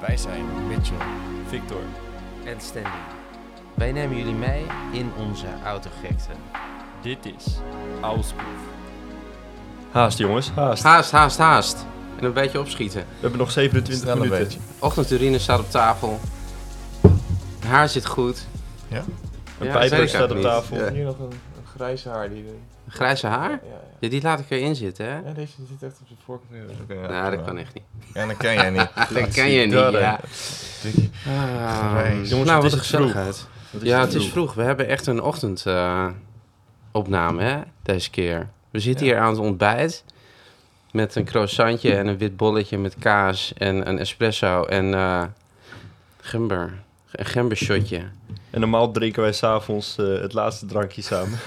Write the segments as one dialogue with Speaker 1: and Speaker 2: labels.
Speaker 1: Wij zijn Mitchell.
Speaker 2: Victor.
Speaker 3: en Stanley. Wij nemen jullie mee in onze autogekte.
Speaker 2: Dit is Ausproef. Haast jongens, haast.
Speaker 3: Haast, haast, haast. En een beetje opschieten.
Speaker 2: We hebben nog 27
Speaker 1: Snel een
Speaker 2: minuten.
Speaker 1: beetje.
Speaker 3: Ochtendurine staat op tafel. Haar zit goed.
Speaker 2: Een
Speaker 3: Ja, dat weet
Speaker 2: pijper
Speaker 3: ik
Speaker 2: staat op
Speaker 3: eigenlijk
Speaker 2: tafel.
Speaker 4: Hier nog een, een grijze haar die... de-
Speaker 3: Grijze haar?
Speaker 4: Ja, ja.
Speaker 3: Ja, die laat ik erin zitten, hè?
Speaker 4: ja, deze zit echt op zijn voorkant. Ja,
Speaker 1: Oké, ja,
Speaker 3: nou, dat
Speaker 1: prima.
Speaker 3: kan echt niet.
Speaker 1: Ja, dat kan jij niet.
Speaker 3: Dat kan je niet, ja.
Speaker 1: Dikkie.
Speaker 3: Ah,
Speaker 1: Grijs.
Speaker 2: Jongens,
Speaker 3: nou,
Speaker 2: het is
Speaker 3: wat een
Speaker 2: vroeg.
Speaker 3: gezelligheid. Ja, het is vroeg. We hebben echt een ochtendopname, hè, deze keer. We zitten hier aan het ontbijt met een croissantje en een wit bolletje met kaas en een espresso en eh gember. Een gembershotje.
Speaker 2: En normaal drinken wij s'avonds avonds eh, het laatste drankje samen.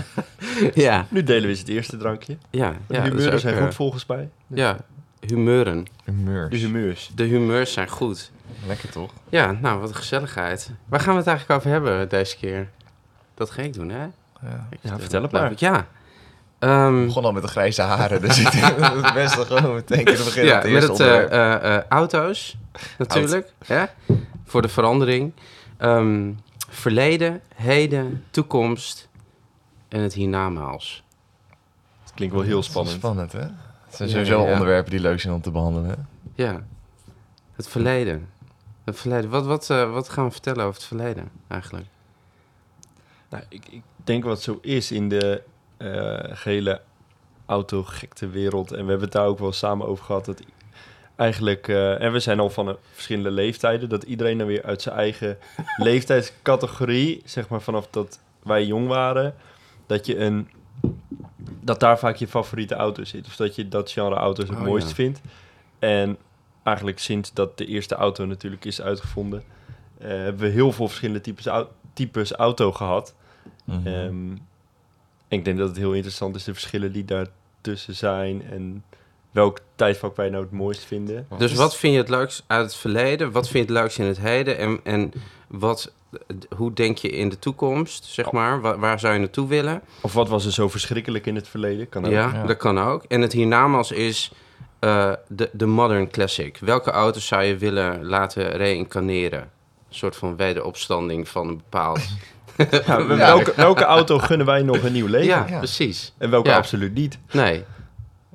Speaker 3: ja,
Speaker 2: nu delen we eens het eerste drankje.
Speaker 3: ja,
Speaker 2: De
Speaker 3: ja. dat is
Speaker 2: humeuren
Speaker 3: ook,
Speaker 2: zijn
Speaker 3: eh,
Speaker 2: goed volgens mij.
Speaker 3: Ja, humeuren.
Speaker 1: Een meurs.
Speaker 2: De humeurs.
Speaker 3: De humeurs zijn goed.
Speaker 1: Dus Lekker toch?
Speaker 3: Ja, nou, wat een gezelligheid. Waar gaan we het eigenlijk over hebben deze keer? Dat ga ik doen, hè?
Speaker 1: Ja.
Speaker 3: Ik-
Speaker 2: Ja, vertel het
Speaker 3: geloof
Speaker 2: maar.
Speaker 3: ik, Ja. Ehm,
Speaker 1: Ik begon al met de grijze haren, dus ik denk dat het beste gewoon meteen kunnen beginnen.
Speaker 3: Ja,
Speaker 1: het
Speaker 3: met
Speaker 1: eerste
Speaker 3: het,
Speaker 1: onderwerp.
Speaker 3: eh, eh, eh, auto's natuurlijk. Hè? Voor de verandering. Ehm, verleden, heden, toekomst en het hiernamaals.
Speaker 2: Het klinkt wel heel spannend.
Speaker 1: Spannend, hè? Het zijn
Speaker 3: Ja,
Speaker 1: sowieso
Speaker 3: ja, ja.
Speaker 1: onderwerpen die leuk zijn om te behandelen. hè?
Speaker 3: Ja, het verleden. Het verleden. Wat, wat, eh, wat gaan we vertellen over het verleden eigenlijk?
Speaker 2: Nou, ik, ik denk wat zo is in de eh gehele autogekte wereld. En we hebben het daar ook wel samen over gehad. Dat eigenlijk, eh, en we zijn al van eh, verschillende leeftijden. Dat iedereen dan weer uit zijn eigen leeftijdscategorie, zeg maar vanaf dat wij jong waren, dat je een. Dat daar vaak je favoriete auto zit. Of dat je dat genre auto's het
Speaker 3: Oh,
Speaker 2: mooist
Speaker 3: ja.
Speaker 2: vindt. En eigenlijk sinds dat de eerste auto natuurlijk is uitgevonden, eh, hebben we heel veel verschillende types, au- types auto gehad.
Speaker 1: Mhm.
Speaker 2: Ehm, ik denk dat het heel interessant is de verschillen die daartussen zijn en welk tijdvak wij nou het mooist vinden.
Speaker 3: Dus wat vind je het leukst uit het verleden? Wat vind je het leukst in het heden? En, en wat, eh, hoe denk je in de toekomst, zeg maar? Waar, waar zou je naartoe willen?
Speaker 2: Of wat was er zo verschrikkelijk in het verleden? Kan ook.
Speaker 3: Ja,
Speaker 1: Ja.
Speaker 3: dat kan ook. En het hiernamaals is eh, de, de modern classic. Welke auto zou je willen laten reïncarneren? Een soort van wederopstanding van een bepaald...
Speaker 2: Ja, we- welke, welke auto gunnen wij nog een nieuw leven?
Speaker 3: ja,
Speaker 1: Ja.
Speaker 3: precies.
Speaker 2: En welke
Speaker 3: Ja.
Speaker 2: absoluut niet? Dus
Speaker 3: Nee,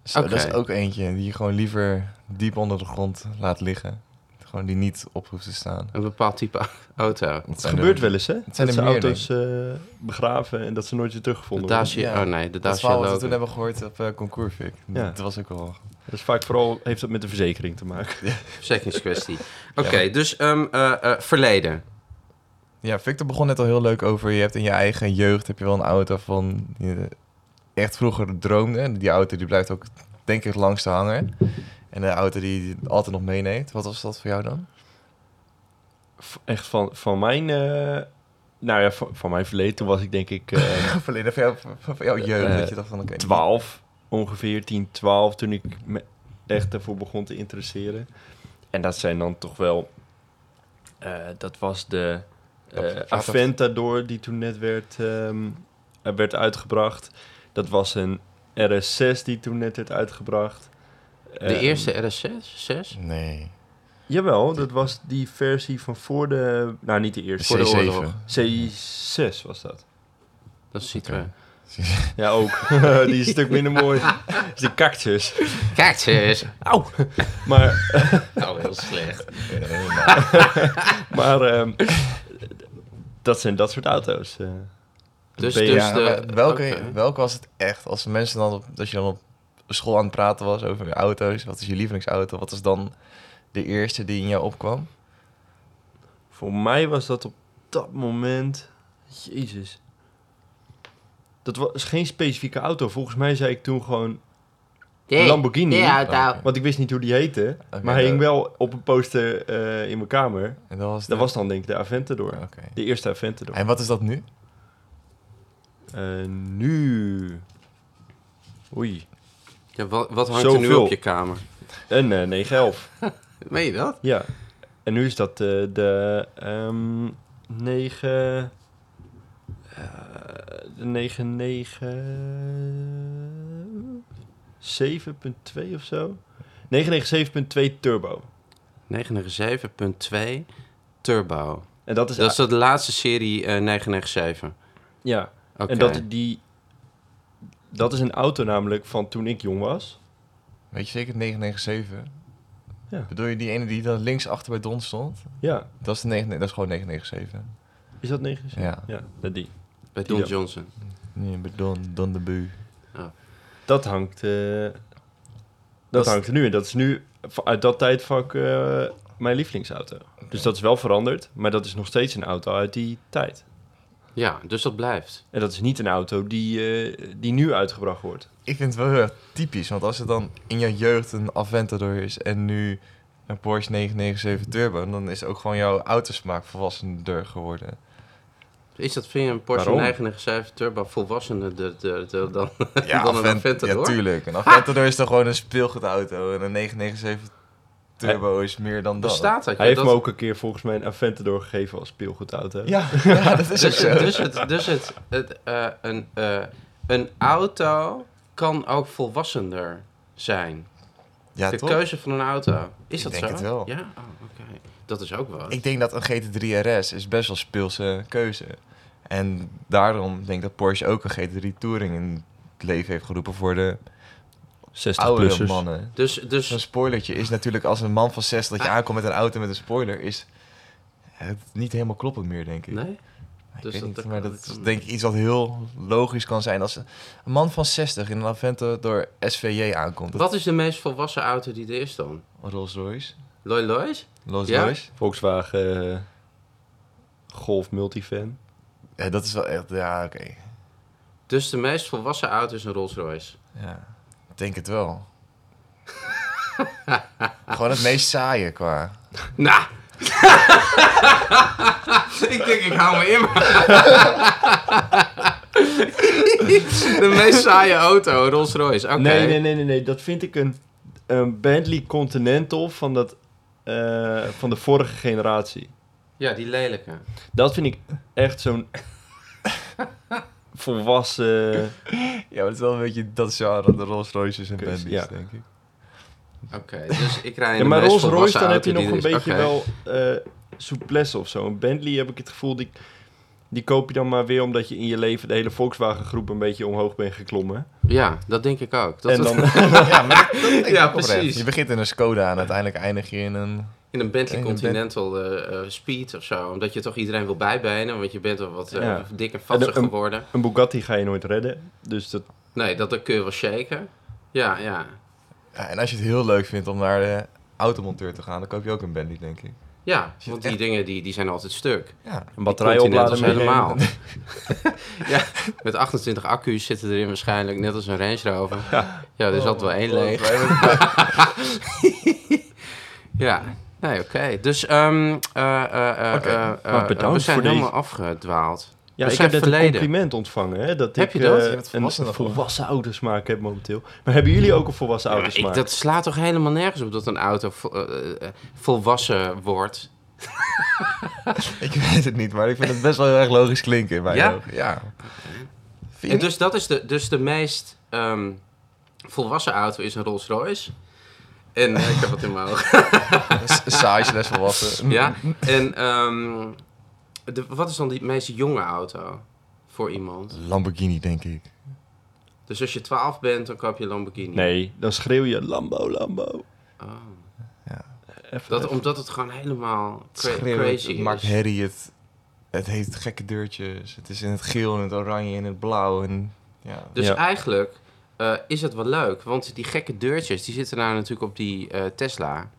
Speaker 1: Zo, Dat is
Speaker 3: Oké.
Speaker 1: ook eentje die je gewoon liever diep onder de grond laat liggen. Gewoon die niet op hoeft te staan.
Speaker 3: een bepaald type auto.
Speaker 1: Het
Speaker 2: Het gebeurt wel eens, hè? dat
Speaker 1: zijn er
Speaker 2: ze
Speaker 1: meer,
Speaker 2: auto's eh, begraven en dat ze nooit weer
Speaker 3: De
Speaker 2: teruggevonden worden.
Speaker 3: Dacia...
Speaker 1: Ja.
Speaker 3: Oh nee, de
Speaker 1: Dat is
Speaker 3: Dacia
Speaker 1: wel wat we toen
Speaker 3: Logan.
Speaker 1: hebben gehoord op eh, concours, Fik.
Speaker 2: Ja.
Speaker 1: Dat was ook wel...
Speaker 2: Dat is vaak vooral, heeft dat met de verzekering te maken.
Speaker 3: Verzekeringskwestie. Oké, dus ehm, eh, eh, verleden.
Speaker 1: Ja, Victor begon net al heel leuk over. Je hebt in je eigen jeugd heb je wel een auto van je echt vroeger droomde. Die auto die blijft ook denk ik het langste hangen. En de auto die je altijd nog meeneemt. Wat was dat voor jou dan?
Speaker 2: V- Echt van, van mijn... eh, nou ja, van, van mijn verleden toen was ik denk ik... eh,
Speaker 1: Verleden van, jou, van jouw jeugd.
Speaker 2: Eh,
Speaker 1: dat je dacht van oké.
Speaker 2: 12, ongeveer 10, 12, toen ik me echt ervoor begon te interesseren. En dat zijn dan toch wel, eh, dat was de eh,
Speaker 1: Dat- dat-
Speaker 2: Aventador die toen net werd, ehm, eh, werd uitgebracht. Dat was een RS6 die toen net werd uitgebracht.
Speaker 3: De
Speaker 2: Ehm,
Speaker 3: eerste RS6? 6?
Speaker 1: Nee.
Speaker 2: Jawel, dat was die versie van voor de, nou niet de eerste,
Speaker 3: Voor de
Speaker 1: C7.
Speaker 3: oorlog.
Speaker 2: C6 was dat.
Speaker 3: Dat is Citroën.
Speaker 2: Ja, ook. die is een stuk minder mooi. Dat is de cactus.
Speaker 3: Kijk, ze is...
Speaker 2: Auw! Maar
Speaker 3: Oh, heel slecht.
Speaker 1: Nee,
Speaker 2: Dus
Speaker 1: maar-
Speaker 2: Maar ehm, dat zijn dat soort auto's. eh.
Speaker 3: Dus,
Speaker 2: Ben je-
Speaker 3: dus
Speaker 1: ja,
Speaker 3: de...
Speaker 1: maar welke,
Speaker 3: oké.
Speaker 1: welke was het echt? Als de mensen dan op, dat je dan op school aan het praten was over auto's. Wat is je lievelingsauto? Wat is dan de eerste die in jou opkwam?
Speaker 2: Voor mij was dat op dat moment. Jezus. Dat was geen specifieke auto. Volgens mij zei ik toen gewoon.
Speaker 3: Die-
Speaker 2: Lamborghini?
Speaker 3: die
Speaker 1: Ah.
Speaker 3: auto.
Speaker 2: Want ik wist niet hoe die heette.
Speaker 1: Oké,
Speaker 2: maar hij hing
Speaker 1: dat-
Speaker 2: wel op een poster eh, in mijn kamer.
Speaker 1: En dat was
Speaker 2: Dat
Speaker 1: de-
Speaker 2: was dan denk ik de Aventador.
Speaker 1: Oké.
Speaker 2: De eerste Aventador.
Speaker 1: En wat is dat nu?
Speaker 2: Eh, nu. Oei.
Speaker 3: Ja, wat, wat hangt er nu
Speaker 2: Zoveel.
Speaker 3: op je kamer?
Speaker 2: Een eh 911.
Speaker 3: Meen je dat?
Speaker 2: Ja. En nu is dat eh, de ehm 9... eh, de 99... 7.2 of zo? 997.2 turbo.
Speaker 3: 997.2 Turbo.
Speaker 2: En dat
Speaker 1: Dus
Speaker 2: is...
Speaker 3: Dat is de laatste serie eh, 997.
Speaker 2: ja,
Speaker 3: Oké.
Speaker 2: en dat, die, dat is een auto namelijk van toen ik jong was.
Speaker 1: Weet je zeker, 997?
Speaker 2: Ja.
Speaker 1: Bedoel je die ene die dan links achter bij Don stond?
Speaker 2: Ja,
Speaker 1: Dat is, de 9, dat is gewoon 997.
Speaker 2: is dat 9?
Speaker 1: Ja,
Speaker 2: Ja, dat die.
Speaker 3: Bij
Speaker 2: die
Speaker 3: Don
Speaker 2: dan.
Speaker 3: Johnson.
Speaker 1: Nee, bij Don, Don de Bu.
Speaker 2: Dat hangt, eh, dat
Speaker 1: Dat is-
Speaker 2: hangt er nu. En dat is nu v- uit dat tijdvak eh, mijn lievelingsauto. Dus dat is wel veranderd, maar dat is nog steeds een auto uit die tijd.
Speaker 3: Ja, dus dat blijft.
Speaker 2: En dat is niet een auto die, eh, die nu uitgebracht wordt.
Speaker 1: Ik vind het wel heel erg typisch, want als het dan in jouw jeugd een Aventador is en nu een Porsche 997 Turbo, dan is ook gewoon jouw autosmaak volwassener geworden.
Speaker 3: Is dat, vind je een Porsche
Speaker 2: Waarom?
Speaker 3: 997 Turbo volwassenen de- de- de- dan,
Speaker 1: Ja,
Speaker 3: dan een
Speaker 1: Aven-
Speaker 3: Aventador?
Speaker 1: Ja, tuurlijk. Een Aventador is dan gewoon een speelgoedauto en een 997 Turbo is meer dan dat.
Speaker 3: Bestaat dat?
Speaker 2: Hij
Speaker 3: joh?
Speaker 2: heeft
Speaker 3: dat...
Speaker 2: me ook een keer volgens mij een Aventador gegeven als speelgoedauto.
Speaker 1: Ja, ja, dat is ook
Speaker 3: Dus,
Speaker 1: zo.
Speaker 3: dus het, dus het, het, eh, een, eh, een auto kan ook volwassener zijn.
Speaker 1: Ja,
Speaker 3: de
Speaker 1: toch?
Speaker 3: keuze van een auto. Is
Speaker 1: Ik
Speaker 3: dat
Speaker 1: denk
Speaker 3: zo?
Speaker 1: het wel.
Speaker 3: Ja, oh, oké. Dat is ook wel.
Speaker 1: Ik denk dat een GT3 RS is best wel speelse keuze. En daarom denk ik dat Porsche ook een GT3 Touring in het leven heeft geroepen voor de
Speaker 2: 60
Speaker 1: oudere
Speaker 2: plussers.
Speaker 1: mannen.
Speaker 3: Dus, dus
Speaker 1: Zo'n spoilertje is natuurlijk als een man van 60
Speaker 3: Ah.
Speaker 1: dat je aankomt met een auto met een spoiler, is het niet helemaal kloppend meer, denk ik.
Speaker 3: Nee?
Speaker 1: ik
Speaker 3: dus
Speaker 1: weet
Speaker 3: dat-
Speaker 1: niet,
Speaker 3: dat
Speaker 1: maar
Speaker 3: kan-
Speaker 1: dat
Speaker 3: dat
Speaker 1: is
Speaker 3: kan-
Speaker 1: denk ik iets wat heel logisch kan zijn als een een man van 60 in een Avento door SVJ aankomt.
Speaker 3: Wat is de meest volwassen auto die er is dan?
Speaker 1: Rolls Royce.
Speaker 3: Loy Loy's?
Speaker 1: Rolls
Speaker 3: Ja?
Speaker 1: Royce.
Speaker 2: Volkswagen eh, Golf Multivan.
Speaker 1: Ja, dat is wel echt, ja, oké.
Speaker 3: Dus de meest volwassen auto is een Rolls Royce.
Speaker 1: Ja, ik denk het wel. Gewoon het meest saaie qua.
Speaker 3: Nou! ik denk, ik hou me in. de meest saaie auto, Rolls Royce. Oké.
Speaker 2: Nee, nee, nee, nee, nee. Dat vind ik een, een Bentley Continental van, dat, eh, van de vorige generatie.
Speaker 3: Ja, die lelijke.
Speaker 2: Dat vind ik echt zo'n volwassen.
Speaker 1: Ja, maar het is wel een beetje dat genre, de Rolls Royces en
Speaker 2: Kus,
Speaker 1: Bentleys,
Speaker 2: ja.
Speaker 1: denk ik.
Speaker 3: Oké, dus ik rij in
Speaker 2: Ja,
Speaker 3: de
Speaker 2: maar
Speaker 3: meest
Speaker 2: Rolls Royce,
Speaker 3: volwassen
Speaker 2: dan heb
Speaker 3: auto
Speaker 2: je nog
Speaker 3: die
Speaker 2: een
Speaker 3: er is.
Speaker 2: beetje
Speaker 3: Oké.
Speaker 2: wel eh souplesse of zo. Een Bentley heb ik het gevoel, die, die koop je dan maar weer omdat je in je leven de hele Volkswagen groep een beetje omhoog bent geklommen.
Speaker 3: Ja, dat denk ik ook. Dat
Speaker 2: en dan,
Speaker 1: ja, maar dat- dat denk ik
Speaker 3: Ja,
Speaker 1: ook oprecht.
Speaker 3: precies.
Speaker 1: Je begint in een Skoda en uiteindelijk eindig je in een...
Speaker 3: In een Bentley
Speaker 1: In een
Speaker 3: Continental eh, eh, Speed of zo. Omdat je toch iedereen wil bijbenen. Want je bent wel wat eh,
Speaker 2: Ja.
Speaker 3: dik en vatsig
Speaker 2: En een-
Speaker 3: geworden.
Speaker 2: een Bugatti ga je nooit redden. Dus dat,
Speaker 3: Nee, dat, dat kun je wel shaken. Ja, ja.
Speaker 1: Ja, en als je het heel leuk vindt om naar de automonteur te gaan, dan koop je ook een Bentley, denk ik.
Speaker 3: Ja,
Speaker 1: Zit
Speaker 3: want
Speaker 1: echt-
Speaker 3: die dingen die, die zijn altijd stuk.
Speaker 1: Ja,
Speaker 2: een batterij opladen
Speaker 3: Continentals
Speaker 2: meenemen.
Speaker 3: helemaal. ja, met 28 accu's zitten erin waarschijnlijk. Net als een Range Rover. Ja, er is altijd wel één leeg. ja, nee, oké. Dus, ehm eh, eh, eh,
Speaker 1: Oké,
Speaker 3: eh, eh,
Speaker 2: maar bedankt
Speaker 3: we zijn
Speaker 2: voor
Speaker 3: helemaal afgedwaald.
Speaker 2: Ja,
Speaker 3: We
Speaker 2: ik
Speaker 3: zijn
Speaker 2: heb net een
Speaker 3: verleden.
Speaker 2: compliment ontvangen. Hè, dat
Speaker 3: Heb
Speaker 2: ik,
Speaker 3: je dat?
Speaker 2: eh,
Speaker 1: Je bent volwassen
Speaker 2: een
Speaker 1: daarvoor.
Speaker 2: volwassen autosmaak heb momenteel. Maar hebben jullie ook een volwassen
Speaker 3: Ja, maar ik-
Speaker 2: autosmaak?
Speaker 3: dat slaat toch helemaal nergens op dat een auto vo- eh, eh, volwassen wordt?
Speaker 1: ik weet het niet, maar ik vind het best wel heel erg logisch klinken in mijn
Speaker 3: Ja?
Speaker 1: ogen. Ja. Vind je
Speaker 3: En dus dat is de, dus de meest ehm, volwassen auto is een Rolls Royce. En eh, ik heb wat in mijn ogen.
Speaker 1: niet? S- Saai slash volwassen.
Speaker 3: Ja. En ehm, de, wat is dan die meest jonge auto voor iemand?
Speaker 1: Lamborghini, denk ik.
Speaker 3: Dus als je 12 bent, dan koop je een Lamborghini.
Speaker 2: Nee, dan schreeuw je Lambo, Lambo.
Speaker 3: Oh.
Speaker 2: Even-
Speaker 3: Dat, omdat het gewoon helemaal cra-
Speaker 1: Schreeuwt,
Speaker 3: crazy
Speaker 1: het
Speaker 3: is.
Speaker 1: maakt herrie, het, het heeft gekke deurtjes. Het is in het geel, in het oranje, in het blauw. En, ja.
Speaker 3: Dus
Speaker 2: Ja.
Speaker 3: eigenlijk eh, is het wel leuk, want die gekke deurtjes die zitten nou natuurlijk op die eh, Tesla.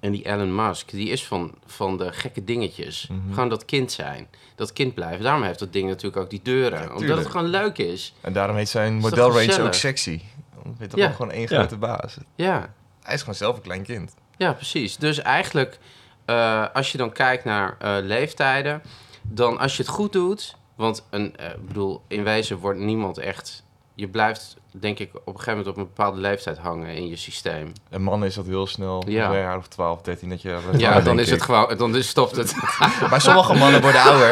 Speaker 3: En die Elon Musk, die is van, van de gekke dingetjes.
Speaker 1: Mhm.
Speaker 3: Gewoon dat kind zijn. Dat kind blijven. Daarom heeft dat ding natuurlijk ook die deuren. omdat het
Speaker 1: tuurlijk.
Speaker 3: gewoon leuk is.
Speaker 1: en daarom heet zijn
Speaker 3: toch
Speaker 1: modelrange
Speaker 3: gezellig?
Speaker 1: ook sexy. Want weet toch
Speaker 3: Ja.
Speaker 1: ook gewoon één
Speaker 2: Ja.
Speaker 1: grote baas.
Speaker 3: Ja,
Speaker 1: Hij is gewoon zelf een klein kind.
Speaker 3: ja precies. Dus eigenlijk, eh, als je dan kijkt naar eh, leeftijden, dan als je het goed doet. Want een, eh, ik bedoel, in wezen wordt niemand echt. Je blijft, denk ik, op een gegeven moment op een bepaalde leeftijd hangen in je systeem.
Speaker 1: En mannen is dat heel snel,
Speaker 3: Ja.
Speaker 1: bij een jaar of 12, 13, dat je...
Speaker 3: Ja, dan
Speaker 1: denk
Speaker 3: is het
Speaker 1: ik.
Speaker 3: gewoon, dan is, stopt het.
Speaker 1: Maar sommige mannen worden ouder.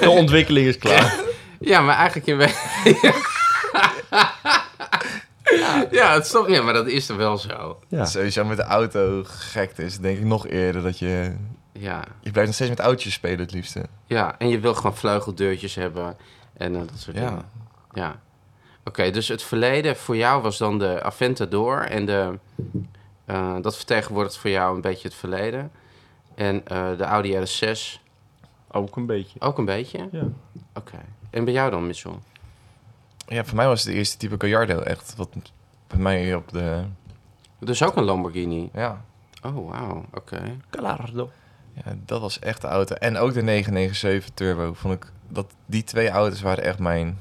Speaker 2: De ontwikkeling is klaar.
Speaker 3: Ja, maar eigenlijk in we- ja. ja, het stopt. Ja, maar dat is er wel zo.
Speaker 2: Ja.
Speaker 1: Sowieso met de auto gekte is het denk ik nog eerder dat je...
Speaker 3: Ja.
Speaker 1: Je blijft nog steeds met oudjes spelen het liefste.
Speaker 3: ja, en je wil gewoon vleugeldeurtjes hebben en eh, dat soort
Speaker 1: Ja.
Speaker 3: dingen. Ja. Oké, dus het verleden voor jou was dan de Aventador en de, eh, dat vertegenwoordigt voor jou een beetje het verleden. En eh, de Audi RS6
Speaker 2: Ook een beetje.
Speaker 3: ook een beetje. Oké.
Speaker 2: Ja.
Speaker 3: En bij jou dan, Mitchell?
Speaker 1: Ja, voor mij was het de eerste type Gallardo echt. Wat bij mij op de...
Speaker 3: Dus ook een Lamborghini.
Speaker 1: Ja,
Speaker 3: Oh, wauw. Oké.
Speaker 2: Claro.
Speaker 1: ja, dat was echt de auto. En ook de 997 Turbo. Vond ik dat die twee auto's waren echt mijn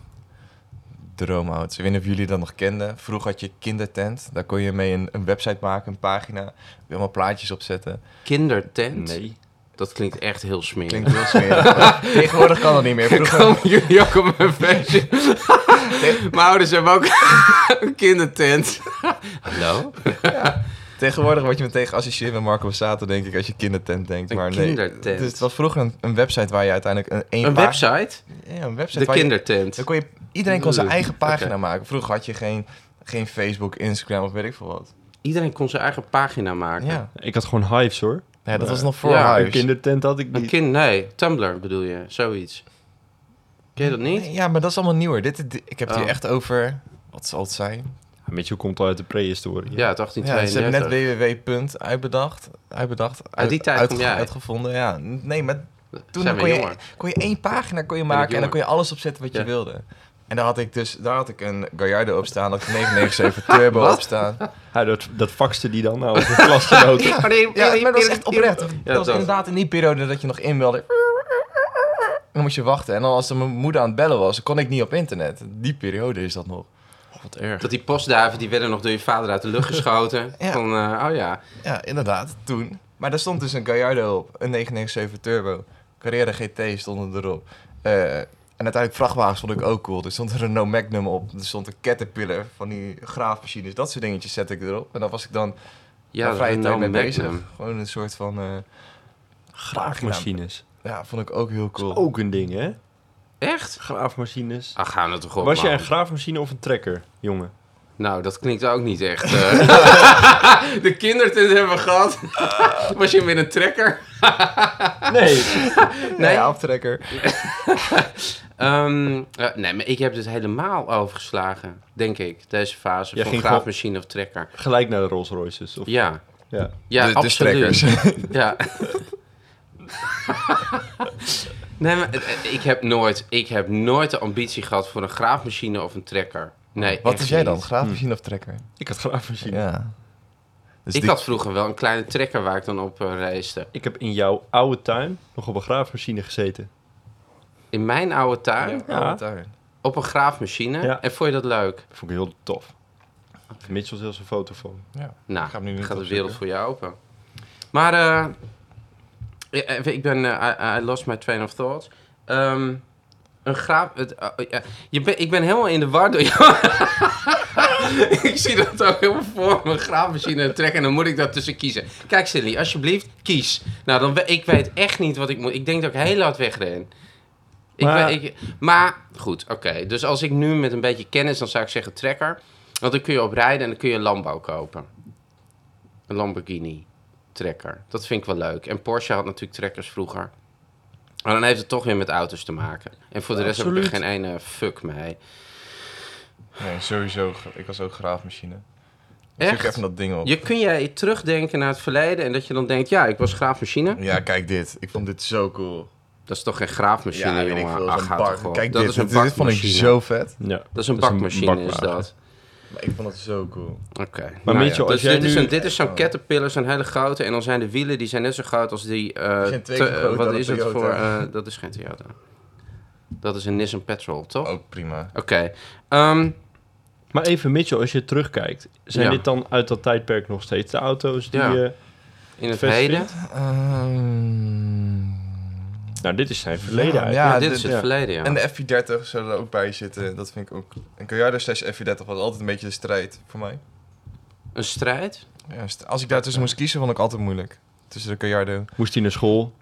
Speaker 1: droomauto's. Ik weet niet of jullie dat nog kenden. Vroeger had je kindertent. Daar kon je mee een, een website maken, een pagina. Kun je Allemaal plaatjes opzetten.
Speaker 3: Kindertent?
Speaker 2: Nee.
Speaker 3: Dat klinkt echt heel smerig.
Speaker 1: Klinkt heel smerig. maar Tegenwoordig kan dat niet meer. Vroeger,
Speaker 3: Komen jullie ook op mijn feestje? Mijn ouders hebben ook een kindertent. Hallo?
Speaker 1: tegenwoordig word je meteen geassocieerd met Marco Bassato, denk ik, als je kindertent denkt.
Speaker 3: Een
Speaker 1: maar nee.
Speaker 3: kindertent.
Speaker 1: Dus het was vroeger een, een website waar je uiteindelijk een, één
Speaker 3: Een
Speaker 1: pag-
Speaker 3: website?
Speaker 1: Ja, een website.
Speaker 3: De
Speaker 1: waar je-
Speaker 3: kindertent.
Speaker 1: dan kon je, iedereen kon zijn
Speaker 3: Oeh,
Speaker 1: eigen pagina
Speaker 3: oké.
Speaker 1: maken. Vroeger had je geen, geen Facebook, Instagram of weet ik veel wat.
Speaker 3: Iedereen kon zijn eigen pagina maken.
Speaker 1: Ja,
Speaker 2: Ik had gewoon hives hoor.
Speaker 1: ja dat was nog voor
Speaker 3: Ja,
Speaker 1: huis.
Speaker 2: Een kindertent had ik
Speaker 3: Een
Speaker 2: niet.
Speaker 3: kind, nee, Tumblr bedoel je, zoiets. Ken je dat niet?
Speaker 1: Nee, Ja, maar dat is allemaal nieuwer. Dit, dit- ik heb het
Speaker 3: Oh.
Speaker 1: hier echt over, wat zal het zijn?
Speaker 2: Ja, Mitchell komt al uit de prehistorie.
Speaker 3: Ja, het
Speaker 1: Ja, ze hebben
Speaker 3: 1832.
Speaker 1: net www. uitbedacht. Uitbedacht.
Speaker 3: Uit Ah, die tijd kom jij.
Speaker 1: Uitgevonden, ja. Nee, maar toen
Speaker 3: Zijn we
Speaker 1: kon je,
Speaker 3: jonger.
Speaker 1: kon je één pagina kon je
Speaker 3: ik
Speaker 1: maken en dan
Speaker 3: jonger.
Speaker 1: kon je alles opzetten wat
Speaker 3: Ja.
Speaker 1: je wilde. En daar had ik dus, daar had ik een Gallardo op staan, daar had ik een 997 Turbo
Speaker 3: Wat?
Speaker 1: op staan.
Speaker 2: Hij, dat, dat faxte die dan nou over de klasgenoten.
Speaker 1: Ja, ja, maar dat was echt oprecht. Dat was
Speaker 3: dat.
Speaker 1: inderdaad in die periode dat je nog inbelde. Dan moest je wachten. En dan als er mijn moeder aan het bellen was, kon ik niet op internet. Die periode is dat nog.
Speaker 3: Oh,
Speaker 1: wat erg.
Speaker 3: Dat die postduiven, die werden nog door je vader uit de lucht geschoten.
Speaker 1: Ja.
Speaker 3: Van, eh, oh ja.
Speaker 1: Ja, inderdaad, toen. Maar daar stond dus een Gallardo op, een 997 Turbo. Carrera GT stonden erop. Eh, en uiteindelijk vrachtwagens vond ik ook cool. Er stond een Renault Magnum op, er stond een Caterpillar van die graafmachines. Dat soort dingetjes zette ik erop. En daar was ik dan
Speaker 3: Ja,
Speaker 1: mijn
Speaker 3: dat
Speaker 1: vrije tijd
Speaker 3: Renault
Speaker 1: mee bezig.
Speaker 3: Magnum.
Speaker 1: Gewoon een soort van... eh,
Speaker 2: Graafmachines.
Speaker 1: ja, vond ik ook heel
Speaker 2: Dat is
Speaker 1: cool.
Speaker 2: ook een ding, hè?
Speaker 3: Echt?
Speaker 2: Graafmachines.
Speaker 3: Ach, gaan we toch op,
Speaker 2: Was jij
Speaker 3: man.
Speaker 2: een graafmachine of een trekker, jongen?
Speaker 3: Nou, dat klinkt ook niet echt. eh. de kindertent hebben we gehad. Was je met een trekker?
Speaker 2: Nee.
Speaker 1: Nee,
Speaker 3: Nee.
Speaker 1: ja, aftrekker.
Speaker 3: Ehm, eh, nee, maar ik heb dit helemaal overgeslagen, denk ik. Deze fase
Speaker 2: Jij
Speaker 3: van
Speaker 2: ging gewoon-
Speaker 3: graafmachine of trekker.
Speaker 2: Gelijk naar de Rolls Royces. Of,
Speaker 3: Ja,
Speaker 2: ja.
Speaker 3: ja
Speaker 1: de, de
Speaker 3: absoluut.
Speaker 1: strekkers.
Speaker 3: ja. nee, maar eh, eh, ik heb, nooit, ik heb nooit de ambitie gehad voor een graafmachine of een trekker. Nee,
Speaker 1: Wat
Speaker 3: echt
Speaker 1: is jij dan?
Speaker 3: niet.
Speaker 1: Graafmachine of trekker?
Speaker 2: Ik had graafmachine.
Speaker 1: Ja. Dus
Speaker 3: ik
Speaker 1: die-
Speaker 3: had vroeger wel een kleine trekker waar ik dan op eh, reisde.
Speaker 2: Ik heb in jouw oude tuin nog op een graafmachine gezeten.
Speaker 3: In mijn oude tuin,
Speaker 2: Ja.
Speaker 1: Oh, daar.
Speaker 3: op een graafmachine.
Speaker 2: Ja.
Speaker 3: En vond je dat leuk?
Speaker 2: Dat vond ik heel tof. Mitchell is heel zijn foto van.
Speaker 1: Ja.
Speaker 3: Nou,
Speaker 1: Ik ga hem nu niet
Speaker 3: gaat de
Speaker 1: opzoeken.
Speaker 3: wereld voor je open. Maar eh, ja, eh, ik ben... eh, I, I lost my train of thought. Ehm, een graaf... Het, eh, eh, je ben, ik ben helemaal in de war door jou. ik zie dat ook helemaal voor me. Een graafmachine trekken en dan moet ik dat tussen kiezen. Kijk, Silly, alsjeblieft, kies. Nou, dan, we- ik weet echt niet wat ik moet... Ik denk dat ik heel hard wegren. Ik
Speaker 2: Maar-
Speaker 3: maar, ik, maar goed, oké. Dus als ik nu met een beetje kennis, dan zou ik zeggen trekker. Want dan kun je op rijden en dan kun je een landbouw kopen. Een Lamborghini trekker. Dat vind ik wel leuk. En Porsche had natuurlijk trekkers vroeger. Maar dan heeft het toch weer met auto's te maken. En voor de rest heb ik er
Speaker 2: Absoluut.
Speaker 3: geen ene fuck mee.
Speaker 1: Nee, sowieso. ge- Ik was ook graafmachine. Ik zoek
Speaker 3: Echt?
Speaker 1: even dat ding op.
Speaker 3: Je, kun jij terugdenken naar het verleden en dat je dan denkt... ja, ik was graafmachine.
Speaker 1: Ja, kijk dit. Ik vond dit zo cool.
Speaker 3: Dat is toch geen graafmachine,
Speaker 1: ja, weet
Speaker 3: jongen?
Speaker 1: ik veel.
Speaker 3: Ach,
Speaker 1: Zo'n
Speaker 3: ga
Speaker 1: bak.
Speaker 3: toch op.
Speaker 1: Kijk
Speaker 3: dat
Speaker 1: dit.
Speaker 3: is een
Speaker 1: dit, dit vond ik
Speaker 3: bakmachine.
Speaker 1: zo vet.
Speaker 2: Ja.
Speaker 3: Dat is een
Speaker 2: Dat is een
Speaker 3: bakmachine, is,
Speaker 2: bakwagen.
Speaker 3: dat.
Speaker 1: Maar ik vond dat zo cool.
Speaker 3: Oké.
Speaker 2: Maar
Speaker 3: Nou
Speaker 2: Mitchell,
Speaker 3: ja,
Speaker 2: als
Speaker 3: dus
Speaker 2: jij
Speaker 3: dit, is
Speaker 2: nu-
Speaker 3: een, dit is zo'n caterpillar, zo'n hele grote. En dan zijn de wielen, die zijn net zo groot als die... eh,
Speaker 1: Die zijn twee
Speaker 3: te-
Speaker 1: keer
Speaker 3: eh,
Speaker 1: groter
Speaker 3: wat
Speaker 1: dan
Speaker 3: is
Speaker 1: een
Speaker 3: het voor...
Speaker 1: Toyota.
Speaker 3: eh, dat is geen Toyota. Dat is een Nissan Petrol, toch?
Speaker 1: Ook prima.
Speaker 3: Oké. ehm,
Speaker 2: Maar even Mitchell, als je terugkijkt. Zijn
Speaker 3: Ja.
Speaker 2: dit dan uit dat tijdperk nog steeds de auto's die...
Speaker 3: Ja.
Speaker 2: eh,
Speaker 3: in het
Speaker 2: Vestveld?
Speaker 3: heden.
Speaker 1: Ehm,
Speaker 2: nou, dit is zijn verleden
Speaker 1: Ja,
Speaker 2: eigenlijk.
Speaker 3: Ja,
Speaker 1: ja,
Speaker 3: dit
Speaker 1: de-
Speaker 3: is het
Speaker 2: ja.
Speaker 3: verleden, ja.
Speaker 1: En de F430 zullen er ook bij zitten. Dat vind ik ook... Een Gallardo slash F430 was altijd een beetje de strijd voor mij.
Speaker 3: Een strijd?
Speaker 1: Juist. Als ik daartussen moest kiezen, vond ik altijd moeilijk. tussen de Gallardo.
Speaker 2: Moest hij naar school?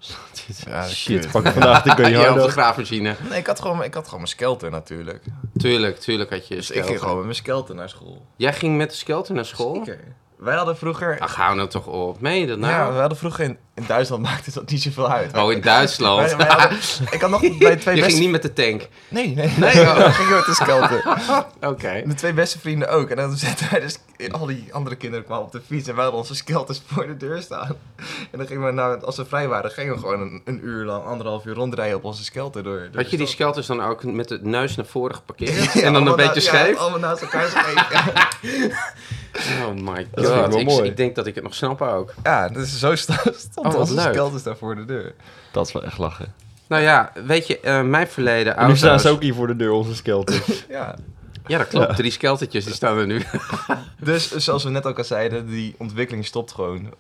Speaker 1: Ja,
Speaker 2: Shit,
Speaker 1: kut.
Speaker 2: pak ik vandaag de
Speaker 3: Ja, op
Speaker 2: Gallardo.
Speaker 3: de graafmachine.
Speaker 1: Nee, ik had gewoon, ik had gewoon mijn skelter natuurlijk.
Speaker 3: Tuurlijk, tuurlijk had je
Speaker 1: Dus ik ging
Speaker 3: skelter.
Speaker 1: gewoon met mijn skelter naar school.
Speaker 3: Jij ging met de skelter naar school?
Speaker 1: Zeker. Wij hadden vroeger...
Speaker 3: Ach, hou nou toch op. Meen je dat
Speaker 1: Ja,
Speaker 3: nou?
Speaker 1: we hadden vroeger in, in Duitsland maakte dat niet zoveel uit.
Speaker 3: oh, in Duitsland.
Speaker 1: Wij- wij hadden- ik had nog bij twee
Speaker 3: je
Speaker 1: beste...
Speaker 3: ging niet met de tank.
Speaker 1: Nee, nee, nee. oh, dan ging ik met de skelter.
Speaker 3: Oké.
Speaker 1: En de twee beste vrienden ook. En dan zetten wij dus... Al die andere kinderen kwamen op de fiets en wij hadden onze skelters voor de deur staan. En dan gingen we, nou, als we vrij waren, gingen we gewoon een, een uur lang, anderhalf uur rondrijden op onze skelter door. door
Speaker 3: Had je die
Speaker 1: de stad.
Speaker 3: skelters dan ook met de neus naar voren geparkeerd?
Speaker 1: Ja,
Speaker 3: en dan
Speaker 1: allemaal
Speaker 3: een
Speaker 1: na-
Speaker 3: beetje
Speaker 1: ja,
Speaker 3: scheef?
Speaker 1: allemaal naast elkaar scheef. ja.
Speaker 3: Oh my god.
Speaker 2: Dat vind ik wel
Speaker 3: ik,
Speaker 2: mooi.
Speaker 3: ik denk dat ik het nog snap ook.
Speaker 1: Ja, dus zo sta-
Speaker 3: Oh,
Speaker 1: stond
Speaker 3: wat
Speaker 1: onze
Speaker 3: leuk.
Speaker 1: skelters daar voor de deur.
Speaker 2: Dat is wel echt lachen.
Speaker 3: Nou ja, weet je, eh, mijn verleden
Speaker 2: En nu
Speaker 3: auto's...
Speaker 2: staan ze ook hier voor de deur, onze skelter.
Speaker 1: Ja.
Speaker 3: Ja, dat klopt. Drie skeltertjes, die staan er nu.
Speaker 1: Dus zoals we net ook al zeiden, die ontwikkeling stopt gewoon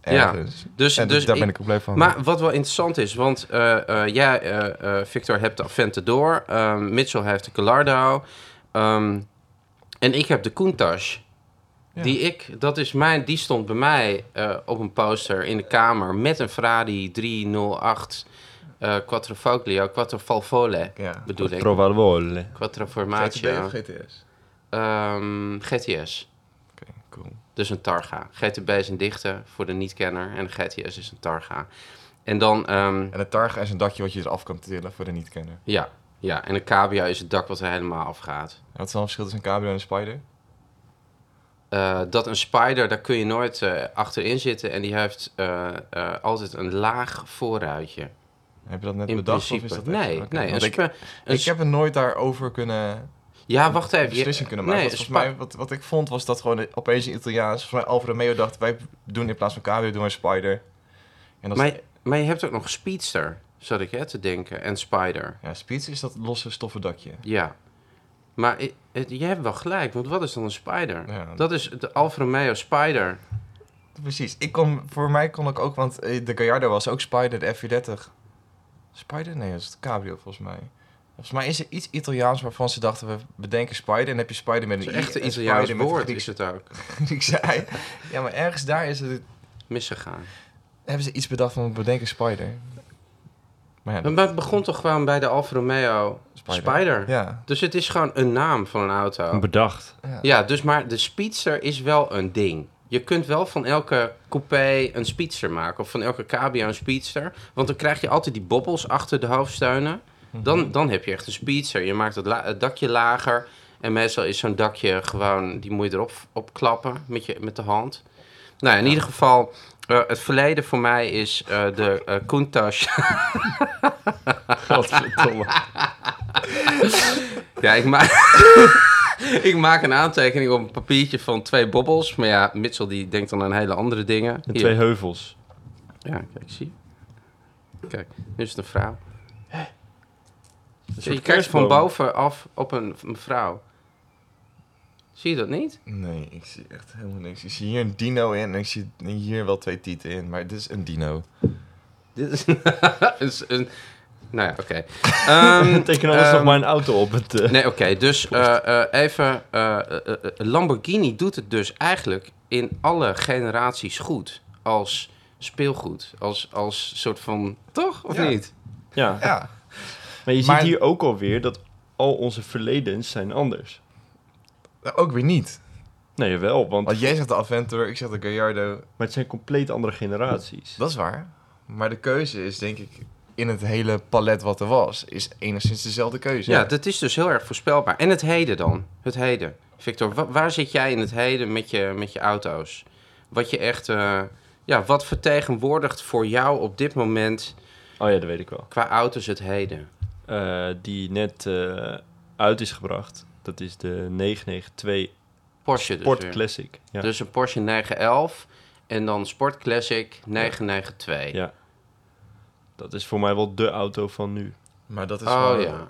Speaker 1: ergens.
Speaker 3: Dus,
Speaker 1: En
Speaker 3: dus
Speaker 1: daar
Speaker 3: ik-
Speaker 1: ben ik ook blij van.
Speaker 3: Maar wat wel interessant is, want eh, eh, jij, eh, eh, Victor, hebt de Aventador. ehm Mitchell heeft de Gallardo. ehm, en ik heb de Countach.
Speaker 1: Ja.
Speaker 3: Die ik, dat is mijn, die stond bij mij eh, op een poster in de kamer met een Ferrari 308 eh Quattrofoglio, Quattrofalvole
Speaker 1: ja.
Speaker 3: bedoel ik.
Speaker 2: Provarole.
Speaker 1: GTB of
Speaker 3: Quattroformaggio,
Speaker 1: GTS?
Speaker 3: ehm GTS.
Speaker 1: Oké, cool.
Speaker 3: Dus een Targa. GTB is een dichte voor de niet-kenner en de GTS is een Targa. En dan ehm,
Speaker 1: En een targa is een dakje wat je eraf kan tillen voor de niet-kenner.
Speaker 3: Ja, ja. En een cabia is het dak wat er helemaal afgaat.
Speaker 1: En wat is dan het verschil tussen een cabrio en een spider?
Speaker 3: Eh, dat een spider, daar kun je nooit eh, achterin zitten. En die heeft eh, eh, altijd een laag voorruitje.
Speaker 1: Heb je dat net
Speaker 3: In
Speaker 1: bedacht?
Speaker 3: principe.
Speaker 1: Of is dat echt-
Speaker 3: nee,
Speaker 1: Oké,
Speaker 3: nee. Een
Speaker 1: want ik,
Speaker 3: spa- een
Speaker 1: ik
Speaker 3: sp-
Speaker 1: heb er nooit daarover kunnen
Speaker 3: ja, wacht even. je-
Speaker 1: beslissing kunnen maken.
Speaker 3: nee,
Speaker 1: Want
Speaker 3: een
Speaker 1: volgens mij, wat, wat ik vond was dat gewoon opeens een Italiaans, volgens mij Alfa Romeo dacht, wij doen in plaats van cabrio, doen wij spider. En
Speaker 3: spa-
Speaker 1: dat
Speaker 3: maar, je- maar je hebt ook nog speedster, zat ik hè, te denken. En spider.
Speaker 1: Ja, speeds is dat losse stoffen dakje.
Speaker 3: Ja. Maar i- het- je hebt wel gelijk, want wat is dan een spider?
Speaker 1: Ja.
Speaker 3: Dat is de Alfa Romeo Spider.
Speaker 1: Precies. Ik kon, voor mij kon ik ook, want eh, de Gallardo was ook Spider, de F430. Spider? Nee, dat is het cabrio volgens mij. Volgens mij is er iets Italiaans waarvan ze dachten, we bedenken Spider. En dan heb je Spider met
Speaker 3: Het is
Speaker 1: een
Speaker 3: echt
Speaker 1: I
Speaker 3: een
Speaker 1: en
Speaker 3: Italiaans
Speaker 1: Spider met een
Speaker 3: woord, is
Speaker 1: Grieks-
Speaker 3: het ook.
Speaker 1: Griekse ei. Ja, maar ergens daar is het,
Speaker 3: Misgegaan.
Speaker 1: hebben ze iets bedacht van, we bedenken Spider. Maar ja,
Speaker 3: Maar het begon toch gewoon bij de Alfa Romeo
Speaker 1: Spider.
Speaker 3: Spider.
Speaker 1: ja,
Speaker 3: Dus het is gewoon een naam van een auto.
Speaker 2: Bedacht.
Speaker 1: ja.
Speaker 3: Ja, dus maar de speedster is wel een ding. Je kunt wel van elke coupé een speedster maken. Of van elke cabrio een speedster. Want dan krijg je altijd die bobbels achter de hoofdsteunen. Dan, dan heb je echt een speedster. Je maakt het, la- het dakje lager. En meestal is zo'n dakje gewoon... Die moet je erop opklappen met, je, met de hand. Nou, in ieder geval... eh, het verleden voor mij is eh, de eh Countach.
Speaker 2: Godverdomme.
Speaker 3: Ja, ik maak, ik maak een aantekening op een papiertje van twee bobbels. Maar ja, Mitchell die denkt dan aan hele andere dingen.
Speaker 2: En
Speaker 3: Hier.
Speaker 2: twee heuvels.
Speaker 3: Ja, kijk, zie je? Kijk, nu is het een vrouw.
Speaker 2: Een soort
Speaker 3: Je kijkt van
Speaker 2: kerstboom.
Speaker 3: bovenaf op een, een vrouw. Zie je dat niet?
Speaker 1: Nee, ik zie echt helemaal niks. Ik zie hier een dino in en ik zie hier wel twee tieten in. Maar dit is een dino.
Speaker 3: Dit is is een... Nou ja, oké. Ehm,
Speaker 2: Teken anders nog
Speaker 3: ehm,
Speaker 2: maar een auto op het... eh,
Speaker 3: Nee, oké. dus eh, eh, even. eh, eh, eh, Lamborghini doet het dus eigenlijk in alle generaties goed. Als speelgoed. Als, als soort van. Toch? Of
Speaker 1: Ja.
Speaker 3: niet?
Speaker 2: Ja.
Speaker 1: Ja,
Speaker 2: Maar je ziet
Speaker 1: Maar-
Speaker 2: hier ook alweer dat al onze verledens zijn anders.
Speaker 1: nou, ook weer niet.
Speaker 2: Nee, wel, want
Speaker 1: Want jij zegt de Aventor, ik zeg de Gallardo.
Speaker 2: maar het zijn compleet andere generaties.
Speaker 1: Dat is waar. Maar de keuze is denk ik in het hele palet wat er was, is enigszins dezelfde keuze.
Speaker 3: Ja, dat is dus heel erg voorspelbaar. En het heden dan? Het heden. Victor, wa- waar zit jij in het heden met je, met je auto's? Wat je echt. eh, ja, wat vertegenwoordigt voor jou op dit moment
Speaker 2: Oh ja, dat weet ik wel.
Speaker 3: qua auto's het heden?
Speaker 2: Eh, die net eh, uit is gebracht. Dat is de 992
Speaker 3: Porsche dus.
Speaker 2: Sport
Speaker 3: weer.
Speaker 2: Classic. Ja.
Speaker 3: Dus een Porsche 911 en dan Sport Classic 992.
Speaker 2: Ja. Dat is voor mij wel de auto van nu.
Speaker 1: Maar dat is
Speaker 3: Oh
Speaker 1: gewoon
Speaker 3: ja.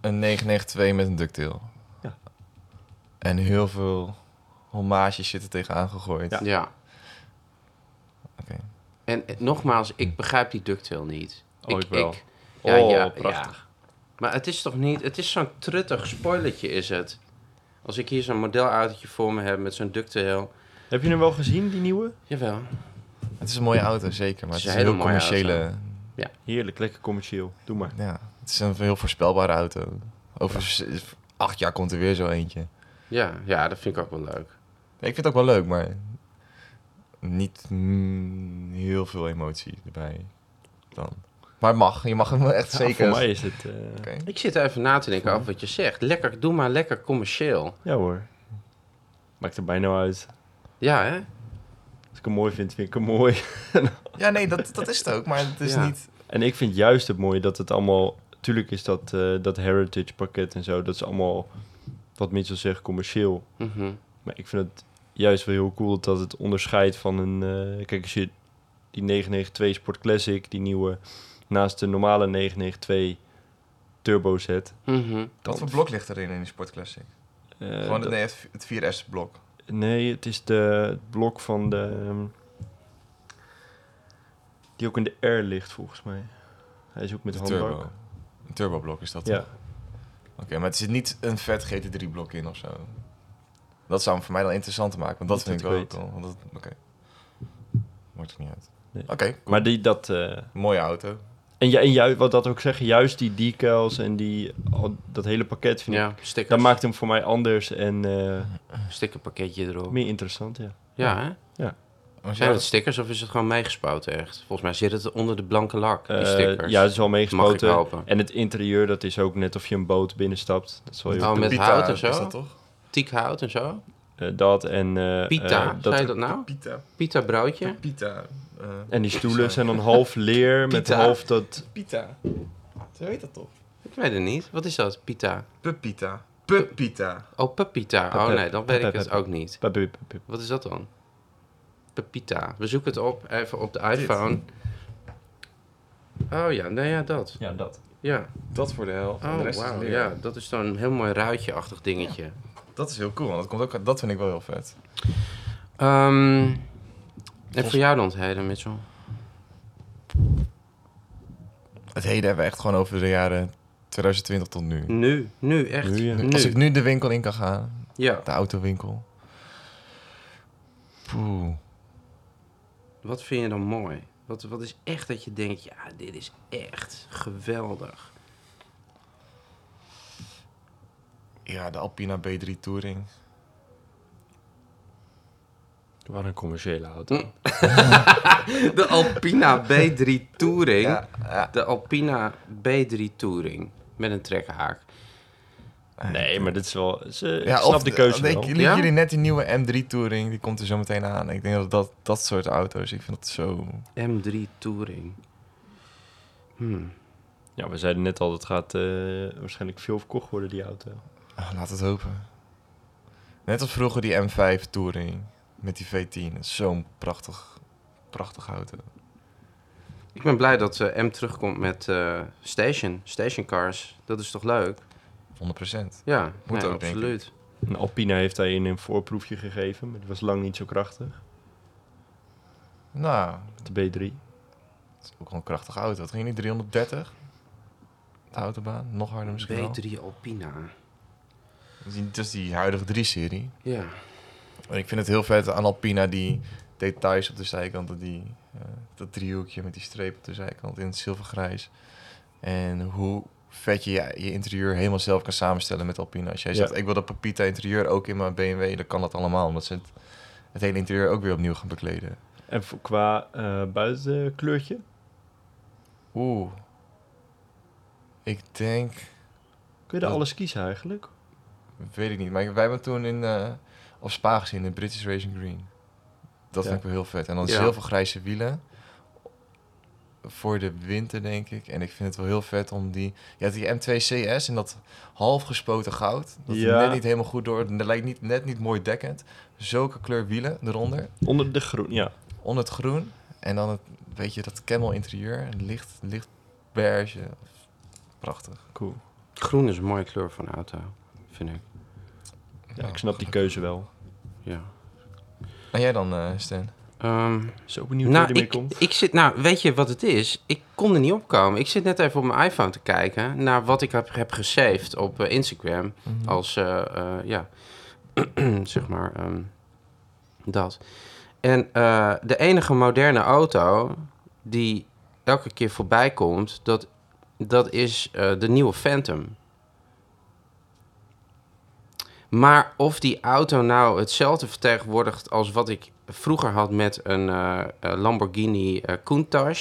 Speaker 1: een 992 met een ductail.
Speaker 2: Ja.
Speaker 1: En heel veel hommages zitten tegenaan gegooid.
Speaker 2: Ja.
Speaker 3: ja.
Speaker 1: Oké.
Speaker 3: En eh, nogmaals, ik begrijp die ductile niet.
Speaker 2: Oh, ik wel.
Speaker 3: ja,
Speaker 2: Oh,
Speaker 3: ja,
Speaker 2: prachtig.
Speaker 3: ja. Maar het is toch niet... Het is zo'n truttig spoilertje is het. Als ik hier zo'n modelautootje voor me heb met zo'n ductile.
Speaker 2: Heb je hem wel gezien, die nieuwe?
Speaker 3: Jawel.
Speaker 1: Het Het is een mooie auto, zeker. Maar
Speaker 3: Het
Speaker 1: het
Speaker 3: is een
Speaker 1: is een heel
Speaker 3: hele mooie
Speaker 1: commerciële.
Speaker 2: Heerlijk, lekker commercieel. Doe maar.
Speaker 1: Ja, het is een heel voorspelbare auto. Over z- acht jaar komt er weer zo eentje.
Speaker 3: Ja, ja, dat vind ik ook wel leuk.
Speaker 1: Ik vind het ook wel leuk, maar niet mm, heel veel emotie erbij dan. Maar het mag, je mag hem echt
Speaker 2: Ja,
Speaker 1: zeker.
Speaker 2: voor mij is het... eh,
Speaker 1: Oké.
Speaker 3: Ik zit even na te denken over wat je zegt. Lekker, doe maar lekker commercieel.
Speaker 2: Ja hoor. Maakt er bijna uit.
Speaker 3: Ja, hè?
Speaker 2: Als ik hem mooi vind, vind ik hem mooi.
Speaker 1: Ja, nee, dat, dat is het ook, maar het is
Speaker 3: Ja.
Speaker 1: niet.
Speaker 2: En ik vind juist het mooie dat het allemaal... Tuurlijk is dat, eh, dat heritage pakket en zo, dat is allemaal, wat Mitchell zegt, commercieel.
Speaker 3: Mhm.
Speaker 2: Maar ik vind het juist wel heel cool dat het onderscheidt van een... eh, kijk, als je die 992 Sport Classic, die nieuwe, naast de normale 992 Turbo zet...
Speaker 3: Mhm.
Speaker 1: Wat voor blok ligt erin in die sportclassic?
Speaker 2: eh,
Speaker 1: Gewoon
Speaker 2: dat-
Speaker 1: het, nee, het, het 4S blok.
Speaker 2: Nee, het is de, het blok van de... ehm, die ook in de R ligt, volgens mij. Hij is ook met
Speaker 1: De
Speaker 2: handbak.
Speaker 1: turbo. Een turboblok is dat.
Speaker 2: Ja.
Speaker 1: toch? Oké, maar het zit niet een vet GT3 blok in of zo. Dat zou hem voor mij dan interessant maken, want dat
Speaker 2: Niet
Speaker 1: vind ik
Speaker 2: dat
Speaker 1: wel
Speaker 2: ik
Speaker 1: cool. Want dat, oké. Maakt het niet uit.
Speaker 2: Nee.
Speaker 1: Oké, cool.
Speaker 2: Maar die, dat... eh,
Speaker 1: mooie auto.
Speaker 2: en ju- en juist, wat dat ook zeggen, juist die decals en die, al dat hele pakket vind ik...
Speaker 3: Ja, stickers.
Speaker 2: Dat maakt hem voor mij anders en eh,
Speaker 3: Stickerpakketje erop.
Speaker 2: meer interessant, ja.
Speaker 3: Ja, hè?
Speaker 1: Maar
Speaker 3: Zijn
Speaker 1: ja,
Speaker 3: het stickers of is het gewoon meegespoten echt? Volgens mij zit het onder de blanke lak, die
Speaker 2: Eh,
Speaker 3: stickers.
Speaker 2: ja, het is al
Speaker 3: Mag ik
Speaker 2: meegespoten.
Speaker 3: hopen.
Speaker 2: En het interieur, dat is ook net of je een boot binnenstapt. Dat is wel heel
Speaker 3: Oh,
Speaker 2: cool.
Speaker 3: met
Speaker 1: Pita
Speaker 3: hout en zo?
Speaker 1: Is dat toch?
Speaker 3: Tiek hout en zo.
Speaker 2: Eh, dat en... eh,
Speaker 3: Pita,
Speaker 2: eh,
Speaker 3: zei
Speaker 2: dat,
Speaker 3: je dat nou?
Speaker 1: Pita.
Speaker 3: Pita broodje?
Speaker 1: Pita. eh,
Speaker 2: en die stoelen zijn dan half leer met
Speaker 1: Pita.
Speaker 2: half dat...
Speaker 4: Pita. Zo heet dat toch?
Speaker 3: Ik weet het niet. Wat is dat? Pita.
Speaker 1: Pepita. Pepita.
Speaker 3: Oh, Pepita. Oh
Speaker 2: Pepe-
Speaker 3: nee, dan weet ik
Speaker 2: Pepe-
Speaker 3: het ook niet. Wat is dat dan? Pepita. We zoeken het op, even op de iPhone. Oh ja, nou ja, dat.
Speaker 2: Ja, dat.
Speaker 3: Ja.
Speaker 4: Dat voor de hel. en de
Speaker 3: Oh,
Speaker 4: rest is
Speaker 3: wauw.
Speaker 4: leer.
Speaker 3: Ja, dat is dan een heel mooi ruitje-achtig dingetje.
Speaker 1: Dat is heel cool, want dat, komt ook, dat vind ik wel heel vet.
Speaker 3: Ehm en voor jou dan het heden, Mitchell?
Speaker 1: Het heden hebben we echt gewoon over de jaren 2020 tot nu.
Speaker 3: Nu. Nu, echt.
Speaker 2: Nu, ja.
Speaker 1: Als ik nu de winkel in kan gaan,
Speaker 3: Ja.
Speaker 1: de autowinkel. Poeh.
Speaker 3: Wat vind je dan mooi? Wat, wat is echt dat je denkt, ja, dit is echt geweldig.
Speaker 1: Ja, de Alpina B3 Touring.
Speaker 2: Wat een commerciële auto.
Speaker 3: De Alpina B3 Touring.
Speaker 1: Ja, ja.
Speaker 3: De Alpina B3 Touring. Met een trekhaak.
Speaker 2: Nee, maar dit is wel... Ze,
Speaker 1: Ja,
Speaker 2: ik snap
Speaker 1: of
Speaker 2: de keuze
Speaker 1: ik
Speaker 2: wel.
Speaker 1: liet
Speaker 3: Ja?
Speaker 1: jullie net die nieuwe M3 Touring, die komt er zo meteen aan. Ik denk dat dat, dat soort auto's, ik vind dat zo...
Speaker 3: M3 Touring. Hmm.
Speaker 2: Ja, we zeiden net al, dat gaat eh, waarschijnlijk veel verkocht worden, die auto.
Speaker 1: Ah, Laat het hopen. Net als vroeger die M5 Touring met die V10. Dat is Zo'n prachtig, prachtig auto.
Speaker 3: Ik ben blij dat eh, M terugkomt met eh, station. Station cars. Dat is toch leuk?
Speaker 1: 100%.
Speaker 3: Ja,
Speaker 1: Moet
Speaker 3: nee,
Speaker 1: ook, denk
Speaker 3: absoluut.
Speaker 2: En Alpina heeft daarin een voorproefje gegeven, maar die was lang niet zo krachtig.
Speaker 1: Nou,
Speaker 2: De B3.
Speaker 1: het is ook wel een krachtige auto. Het ging niet 330? De autobaan? Nog harder misschien wel.
Speaker 3: B3 Alpina.
Speaker 1: Dat is die- Dat is die huidige 3-serie.
Speaker 3: Ja.
Speaker 1: En ik vind het heel vet aan Alpina, die details op de zijkant, dat die, eh, dat driehoekje met die streep op de zijkant in het zilvergrijs. En hoe vet je, je je interieur helemaal zelf kan samenstellen met Alpina. Als jij
Speaker 2: Ja.
Speaker 1: zegt, ik wil dat Papita interieur ook in mijn BMW, dan kan dat allemaal. Omdat ze het, het hele interieur ook weer opnieuw gaan bekleden.
Speaker 2: En voor- qua eh, buitenkleurtje?
Speaker 1: Oeh. Ik denk,
Speaker 2: Kun je daar
Speaker 1: Dat-
Speaker 2: alles kiezen eigenlijk?
Speaker 1: weet ik niet, maar wij hebben toen in, eh op Spa gezien, in British Racing Green. Dat
Speaker 2: Ja.
Speaker 1: vind ik wel heel vet. En dan
Speaker 3: Ja.
Speaker 1: zilvergrijze wielen. Voor de winter, denk ik. En ik vind het wel heel vet om die... Ja, die M2 CS en dat half gespoten goud. Dat
Speaker 2: Ja.
Speaker 1: net niet helemaal goed door... Dat lijkt niet, net niet mooi dekkend. Zulke kleur wielen eronder.
Speaker 2: Onder de groen, ja.
Speaker 1: Onder het groen. En dan het, weet je, dat camel interieur. een Licht, licht beige. Prachtig.
Speaker 2: Cool.
Speaker 3: Groen is een mooie kleur voor een auto, vind ik.
Speaker 2: Ja, ik snap die keuze wel.
Speaker 3: Ja.
Speaker 1: En jij dan, eh, Stan?
Speaker 3: Ehm,
Speaker 2: Zo benieuwd
Speaker 3: nou,
Speaker 2: hoe die
Speaker 3: ik,
Speaker 2: ermee komt.
Speaker 3: Ik zit, nou, weet je wat het is? Ik kon er niet op komen. Ik zit net even op mijn iPhone te kijken naar wat ik heb, heb gesaved op eh, Instagram.
Speaker 1: Mm-hmm.
Speaker 3: Als, eh, eh, ja, zeg maar, ehm, dat. En eh, de enige moderne auto die elke keer voorbij komt, dat, dat is eh, de nieuwe Phantom. Maar of die auto nou hetzelfde vertegenwoordigt als wat ik vroeger had met een eh, eh, Lamborghini eh Countach,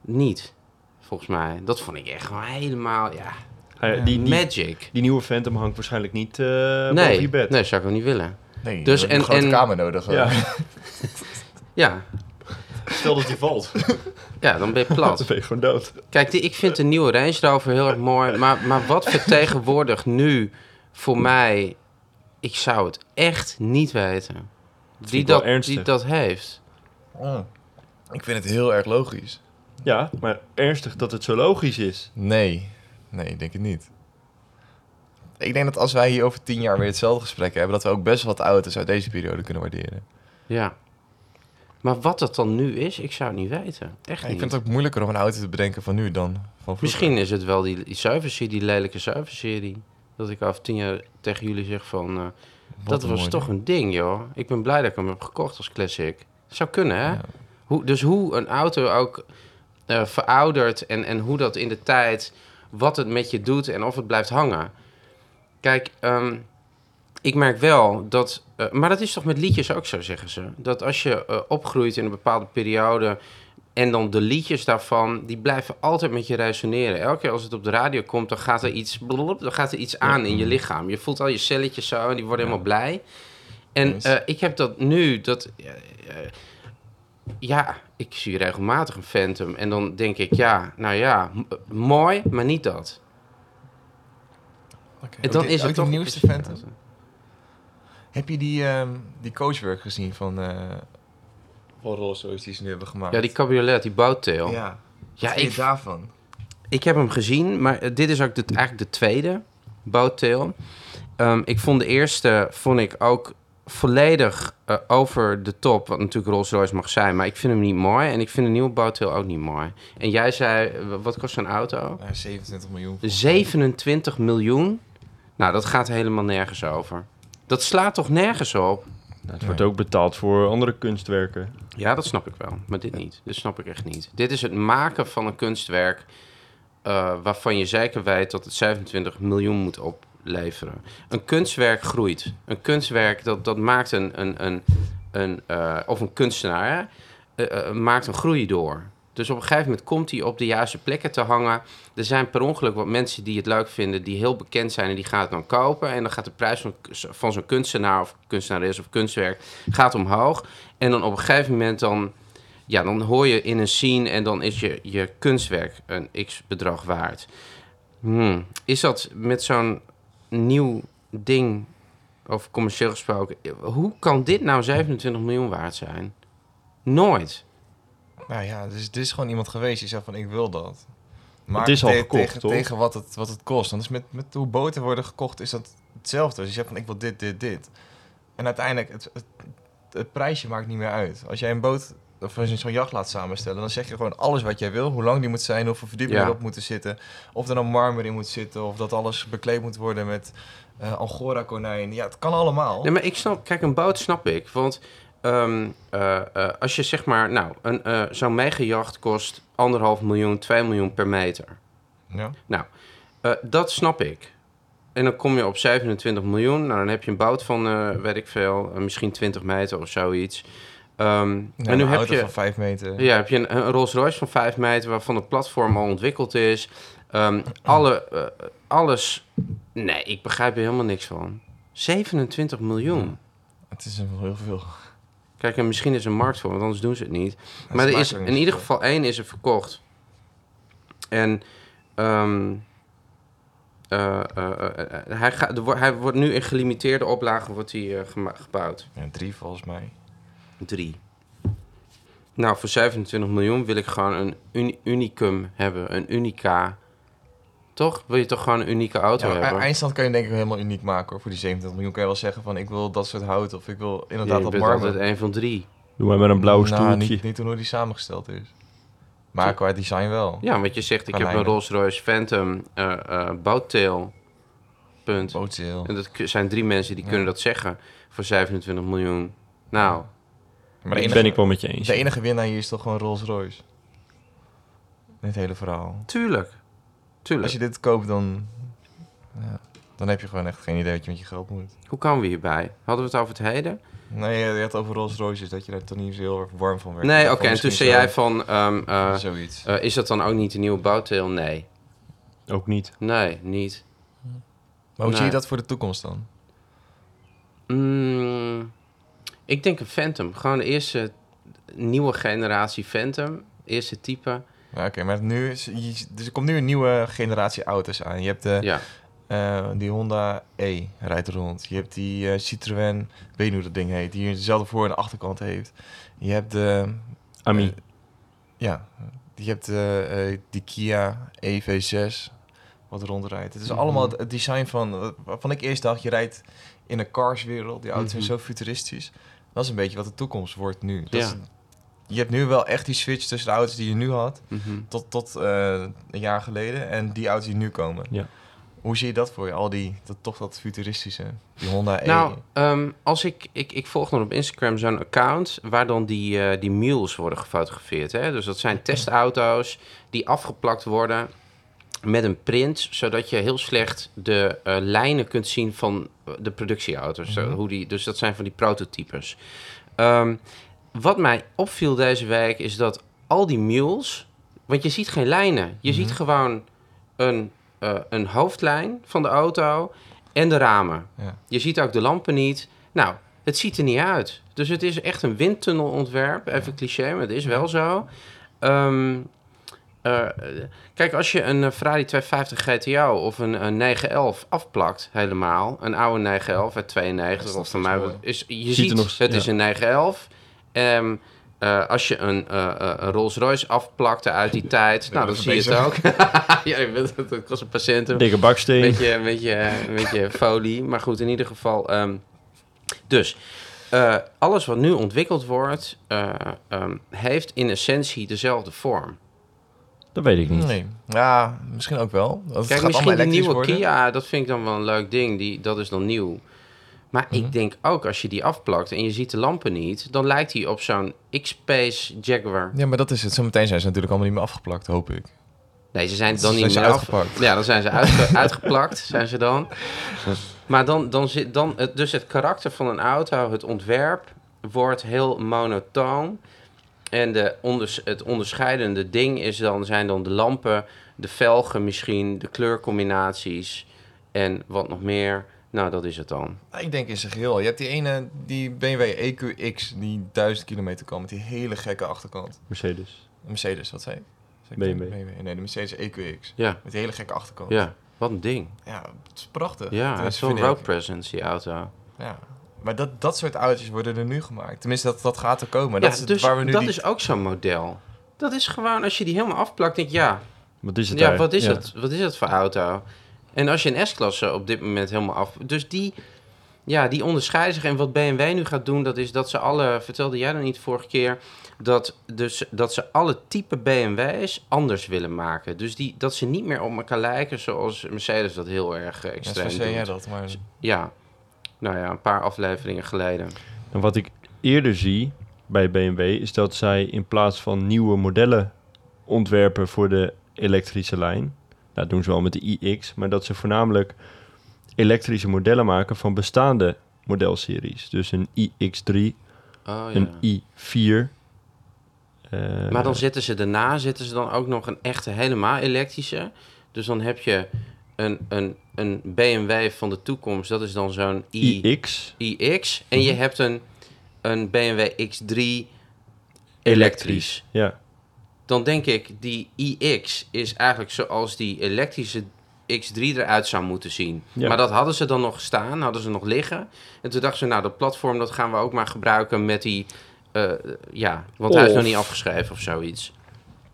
Speaker 3: niet. Volgens mij. Dat vond ik echt gewoon helemaal, ja,
Speaker 2: Ah ja, die, die,
Speaker 3: magic.
Speaker 2: die nieuwe Phantom hangt waarschijnlijk niet eh boven
Speaker 3: Nee,
Speaker 2: je bed.
Speaker 3: nee, zou ik ook niet willen.
Speaker 1: Nee,
Speaker 3: Dus
Speaker 1: dus en,
Speaker 3: en-
Speaker 1: een grote
Speaker 3: en-
Speaker 1: kamer nodig. hoor.
Speaker 2: Ja.
Speaker 3: Ja,
Speaker 2: Stel dat die valt,
Speaker 3: ja, dan ben je plat.
Speaker 2: dan ben je gewoon dood.
Speaker 3: Kijk, die, ik vind de nieuwe Range Rover heel erg mooi. Maar, maar wat vertegenwoordigt nu voor mij... Ik zou het echt niet weten. Die
Speaker 2: ik wel
Speaker 3: dat, die
Speaker 2: ernstig.
Speaker 3: dat heeft.
Speaker 1: Mm. Ik vind het heel erg logisch.
Speaker 2: Ja, maar ernstig dat het zo logisch is.
Speaker 1: Nee, nee, ik denk het niet. Ik denk dat als wij hier over tien jaar weer hetzelfde gesprek hebben, dat we ook best wat auto's uit deze periode kunnen waarderen.
Speaker 3: Ja. Maar wat dat dan nu is, ik zou het niet weten. Echt
Speaker 1: Ja,
Speaker 3: niet.
Speaker 1: ik vind het ook moeilijker om een auto te bedenken van nu dan van vroeger.
Speaker 3: Misschien is het wel die, die zuiverserie, die lelijke zuiverserie. Dat ik over tien jaar tegen jullie zeg van... eh,
Speaker 1: Wat
Speaker 3: dat
Speaker 1: een
Speaker 3: was
Speaker 1: mooi
Speaker 3: toch een ding, joh. Ik ben blij dat ik hem heb gekocht als classic. Zou kunnen, hè?
Speaker 1: Ja.
Speaker 3: Hoe, dus hoe een auto ook eh, veroudert en, en hoe dat in de tijd... wat het met je doet en of het blijft hangen. Kijk, ehm, ik merk wel dat... eh, maar dat is toch met liedjes ook zo, zeggen ze. Dat als je eh, opgroeit in een bepaalde periode... En dan de liedjes daarvan, die blijven altijd met je resoneren. Elke keer als het op de radio komt, dan gaat er iets, blop, dan gaat er iets aan in je lichaam. Je voelt al je celletjes zo en die worden helemaal blij. En
Speaker 1: Yes.
Speaker 3: eh, ik heb dat nu, dat... eh, eh, ja, ik zie regelmatig een Phantom. En dan denk ik, ja, nou ja, m- mooi, maar niet dat.
Speaker 1: Oké.
Speaker 3: En dan
Speaker 1: Ook die-
Speaker 3: is het
Speaker 1: ook die
Speaker 3: toch...
Speaker 1: nieuwste Phantom. Heb je die, ehm, die coachwork gezien van, eh van Rolls Royce die ze nu hebben gemaakt?
Speaker 3: Ja, die cabriolet, die bouwtail. Ja,
Speaker 1: Ja, ja
Speaker 3: ik,
Speaker 1: ik daarvan.
Speaker 3: ik heb hem gezien, maar eh, dit is ook de, eigenlijk de tweede bouwtail. Ehm, ik vond de eerste vond ik ook volledig eh, over de top, wat natuurlijk Rolls Royce mag zijn. Maar ik vind hem niet mooi en ik vind de nieuwe bouwtail ook niet mooi. En jij zei, eh, wat kost zo'n auto?
Speaker 1: Ja, 27 Eh, miljoen.
Speaker 3: 27 miljoen? Nou, dat gaat helemaal nergens over. Dat slaat toch nergens op?
Speaker 2: het wordt ook betaald voor andere kunstwerken.
Speaker 3: Ja, dat snap ik wel, maar dit niet. Dit snap ik echt niet. Dit is het maken van een kunstwerk eh, waarvan je zeker weet dat het 27 miljoen moet opleveren. Een kunstwerk groeit. Een kunstwerk dat, dat maakt een, een, een, een eh, of een kunstenaar hè, eh, eh, maakt een groei door. Dus op een gegeven moment komt hij op de juiste plekken te hangen. Er zijn per ongeluk wat mensen die het leuk vinden, die heel bekend zijn en die gaan het dan kopen. En dan gaat de prijs van, van zo'n kunstenaar of kunstenares of kunstwerk gaat omhoog. En dan op een gegeven moment dan, ja, dan hoor je in een scene en dan is je, je kunstwerk een x bedrag waard. Hmm. Is dat met zo'n nieuw ding, of commercieel gesproken, hoe kan dit nou 27 miljoen waard zijn? Nooit.
Speaker 1: Nou ja, dus er is gewoon iemand geweest die zei van ik wil dat. Maar
Speaker 2: Het is al gekocht,
Speaker 1: tegen,
Speaker 2: toch?
Speaker 1: tegen wat het, wat het kost. Want dus met, met hoe boten worden gekocht is dat hetzelfde. Dus je zegt van ik wil dit, dit, dit. En uiteindelijk, het, het, het prijsje maakt niet meer uit. Als jij een boot of als je zo'n jacht laat samenstellen, dan zeg je gewoon alles wat jij wil. Hoe lang die moet zijn, hoeveel verdiepingen
Speaker 3: Ja.
Speaker 1: erop moeten zitten. Of er dan marmer in moet zitten. Of dat alles bekleed moet worden met eh, angora konijn. Ja, het kan allemaal.
Speaker 3: Nee, maar ik snap, kijk, een boot snap ik. Want ehm, eh, eh, als je zeg maar, nou, een, eh, zo'n megajacht kost anderhalf miljoen, 2 miljoen per meter.
Speaker 1: Ja.
Speaker 3: Eh, dat snap ik. En dan kom je op 27 miljoen. Nou, dan heb je een bout van, eh, weet ik veel, eh, misschien 20 meter of zoiets. Ehm,
Speaker 1: Ja,
Speaker 3: en nu
Speaker 1: een
Speaker 3: heb
Speaker 1: auto
Speaker 3: je,
Speaker 1: van vijf meter.
Speaker 3: ja, heb je een, een Rolls Royce van 5 meter waarvan het platform al ontwikkeld is. Ehm, alle, eh, alles. Nee, ik begrijp er helemaal niks van. 27 miljoen.
Speaker 1: Het is een- heel veel.
Speaker 3: Kijk, en misschien is er een markt voor, want anders doen ze het niet.
Speaker 1: Het
Speaker 3: Maar er
Speaker 1: maakt
Speaker 3: is,
Speaker 1: niet
Speaker 3: in ieder
Speaker 1: zoveel.
Speaker 3: geval één is er verkocht. En ehm, eh, eh, eh, eh, hij, gaat, er wordt- hij wordt nu in gelimiteerde oplagen wordt hij, eh, gema- gebouwd.
Speaker 1: Ja, drie volgens mij.
Speaker 3: Drie. Nou, voor 27 miljoen wil ik gewoon een uni- unicum hebben. Een unica. Toch? Wil je toch gewoon een unieke auto
Speaker 1: Ja,
Speaker 3: hebben?
Speaker 1: e- Eindstand kan je denk ik helemaal uniek maken hoor. Voor die 27 miljoen kan je wel zeggen van ik wil dat soort hout of ik wil
Speaker 3: Ja,
Speaker 1: inderdaad
Speaker 3: je
Speaker 1: dat
Speaker 3: bent
Speaker 1: marmer.
Speaker 3: altijd één van drie.
Speaker 2: Doe maar met een blauw stoeltje.
Speaker 1: Nou, niet, niet toen hoe die samengesteld is. Maar qua design wel.
Speaker 3: Ja, want je zegt, ik
Speaker 1: Van
Speaker 3: heb een
Speaker 1: Leiden.
Speaker 3: Rolls Royce Phantom eh eh, bouwtail. Punt.
Speaker 1: Bootseel.
Speaker 3: En dat k- zijn drie mensen die kunnen dat zeggen voor 27 miljoen. Nou,
Speaker 1: Maar de
Speaker 2: dat
Speaker 1: enige,
Speaker 2: ben ik wel met je eens.
Speaker 1: de enige winnaar hier is toch gewoon Rolls Royce. In het hele verhaal.
Speaker 3: Tuurlijk. Tuurlijk.
Speaker 1: Als je dit koopt, dan, ja, dan heb je gewoon echt geen idee wat je met je geld moet.
Speaker 3: Hoe komen we hierbij? Hadden we het over het heden?
Speaker 1: Nee, je had over Rolls Royces, dat je daar toch niet zo heel erg warm van werd.
Speaker 3: Nee,
Speaker 1: Ik
Speaker 3: oké.
Speaker 1: dacht van
Speaker 3: en toen
Speaker 1: misschien
Speaker 3: zei jij
Speaker 1: zo-
Speaker 3: van, ehm, eh,
Speaker 1: Zoiets.
Speaker 3: eh, is dat dan ook niet de nieuwe bouwteel? Nee.
Speaker 2: Ook niet.
Speaker 3: Nee, niet.
Speaker 1: Maar hoe zie je
Speaker 3: nee.
Speaker 1: dat voor de toekomst dan?
Speaker 3: Mm, ik denk een Phantom. Gewoon de eerste nieuwe generatie Phantom. Eerste type.
Speaker 1: Ja, Oké, maar nu is, je- dus er komt nu een nieuwe generatie auto's aan. Je hebt de,
Speaker 3: Ja.
Speaker 1: eh, die Honda E rijdt er rond. Je hebt die eh, Citroën, ik weet niet hoe dat ding heet, die hier dezelfde voor- en achterkant heeft. Je hebt de,
Speaker 2: Ami.
Speaker 1: Eh, ja, je hebt eh, eh, die Kia EV6 wat rondrijdt. Het is
Speaker 3: Mhm.
Speaker 1: allemaal het- het design van, eh, waarvan ik eerst dacht, je rijdt in een carswereld. Die auto's
Speaker 3: Mhm.
Speaker 1: zijn zo futuristisch. Dat is een beetje wat de toekomst wordt nu. Dat
Speaker 3: Ja.
Speaker 1: is- je hebt nu wel echt die switch tussen de auto's die je nu had
Speaker 3: Mhm.
Speaker 1: tot, tot eh, een jaar geleden en die auto's die nu komen.
Speaker 2: Ja.
Speaker 1: Hoe zie je dat voor je? Al die, dat, toch dat futuristische, die Honda E.
Speaker 3: Nou, ehm, als ik, ik, ik volg dan op Instagram zo'n account waar dan die, eh, die mules worden gefotografeerd. Hè? Dus dat zijn testauto's die afgeplakt worden met een print, zodat je heel slecht de eh, lijnen kunt zien van eh, de productieauto's. Zo, hoe die, dus dat zijn van die prototypes. Ehm, wat mij opviel deze week is dat al die mules, want je ziet geen lijnen, je
Speaker 1: Mhm.
Speaker 3: ziet gewoon een, eh, een hoofdlijn van de auto en de ramen.
Speaker 1: Ja.
Speaker 3: Je ziet ook de lampen niet. Nou, het ziet er niet uit. Dus het is echt een windtunnelontwerp. Even cliché, maar het is wel zo. Ehm, eh, kijk, als je een eh, Ferrari 250 GTO of een, een 911 afplakt helemaal... een oude 911 uit 92
Speaker 1: Is dat
Speaker 3: of van
Speaker 1: zo
Speaker 3: mij...
Speaker 1: mooi?
Speaker 3: Is, je
Speaker 2: Ziet
Speaker 3: ziet,
Speaker 2: er nog-
Speaker 3: het
Speaker 2: ja.
Speaker 3: is een 911. Ehm eh, als je een, eh, eh, een Rolls Royce afplakte uit die tijd...
Speaker 1: Ik
Speaker 3: nou,
Speaker 1: ben
Speaker 3: dan zie
Speaker 1: even
Speaker 3: je het ook. ja, ik ben- dat kost een patiënt
Speaker 2: Dikke baksteen.
Speaker 3: beetje, een beetje, een beetje folie. Maar goed, in ieder geval. ehm, dus eh, alles wat nu ontwikkeld wordt, eh, ehm, heeft in essentie dezelfde vorm.
Speaker 2: Dat weet ik niet.
Speaker 1: nee. Ja, misschien ook wel. Want het
Speaker 3: Kijk,
Speaker 1: gaat allemaal
Speaker 3: misschien die
Speaker 1: elektrisch
Speaker 3: nieuwe
Speaker 1: worden.
Speaker 3: Kia, dat vind ik dan wel een leuk ding. Die, dat is dan nieuw. Maar
Speaker 1: Mhm.
Speaker 3: ik denk ook, als je die afplakt en je ziet de lampen niet, dan lijkt die op zo'n X-Space Jaguar.
Speaker 1: Ja, maar dat is het. Zometeen zijn ze natuurlijk allemaal niet meer afgeplakt, hoop ik.
Speaker 3: Nee, ze zijn
Speaker 1: Ze
Speaker 3: dan
Speaker 1: zijn
Speaker 3: niet
Speaker 1: ze
Speaker 3: meer af-
Speaker 1: uitgepakt.
Speaker 3: Ja, dan zijn ze uitge- uitgeplakt, zijn ze dan. Maar dan, dan zit dan het, dus het karakter van een auto, het ontwerp, wordt heel monotoon. En de onders, het onderscheidende ding is dan, zijn dan de lampen, de velgen misschien, de kleurcombinaties en wat nog meer. Nou, dat is het dan.
Speaker 1: Nou, Ik denk in zijn geheel. Je hebt die ene, die BMW EQX, E die 1000 kilometer kan met die hele gekke achterkant.
Speaker 2: Mercedes.
Speaker 1: Mercedes, wat zei ik? Zei ik
Speaker 2: BMW.
Speaker 1: Nee, de Mercedes EQX.
Speaker 3: Ja,
Speaker 1: Met die hele gekke achterkant.
Speaker 3: ja. Wat een ding.
Speaker 1: Ja, het is prachtig.
Speaker 3: Ja, het
Speaker 1: Tenminste,
Speaker 3: is zo'n
Speaker 1: vind ik.
Speaker 3: road presence, die auto.
Speaker 1: Ja. Maar dat, dat soort auto's worden er nu gemaakt. Tenminste, dat, dat gaat er komen.
Speaker 3: ja,
Speaker 1: dat is het
Speaker 3: dus
Speaker 1: waar we nu
Speaker 3: dat
Speaker 1: die-
Speaker 3: is ook zo'n model. Dat is gewoon, als je die helemaal afplakt, denk ik, ja,
Speaker 2: Wat is het
Speaker 3: Ja,
Speaker 2: daar?
Speaker 3: wat is het? Wat is het voor auto? En als je een S-klasse op dit moment helemaal af... Dus die, ja, die onderscheiden zich. En wat BMW nu gaat doen, dat is dat ze alle... Vertelde jij dan niet vorige keer? Dat, dus, dat ze alle type BMW's anders willen maken. Dus die, dat ze niet meer op elkaar lijken zoals Mercedes dat heel erg eh,
Speaker 1: Ja, zo
Speaker 3: extreem
Speaker 1: zei jij
Speaker 3: doet.
Speaker 1: dat, maar...
Speaker 3: Ja, nou ja, een paar afleveringen geleden.
Speaker 2: En wat ik eerder zie bij BMW is dat zij in plaats van nieuwe modellen ontwerpen voor de elektrische lijn, nou, dat doen ze wel met de iX, maar dat ze voornamelijk elektrische modellen maken van bestaande modelseries. Dus een iX3,
Speaker 3: Oh, ja.
Speaker 2: een i4. eh,
Speaker 3: Maar dan zetten ze daarna zetten ze dan ook nog een echte helemaal elektrische. Dus dan heb je een, een, een BMW van de toekomst. Dat is dan zo'n I,
Speaker 2: iX
Speaker 3: iX. En
Speaker 2: Mhm.
Speaker 3: je hebt een, een BMW X3
Speaker 2: elektrisch.
Speaker 3: elektrisch.
Speaker 2: Ja,
Speaker 3: Dan denk ik, die iX is eigenlijk zoals die elektrische X3 eruit zou moeten zien.
Speaker 2: Ja.
Speaker 3: Maar dat hadden ze dan nog staan, hadden ze nog liggen. En toen dachten ze, nou, dat platform dat gaan we ook maar gebruiken met die... eh, ja, want hij is
Speaker 2: Of-
Speaker 3: nog niet afgeschreven of zoiets.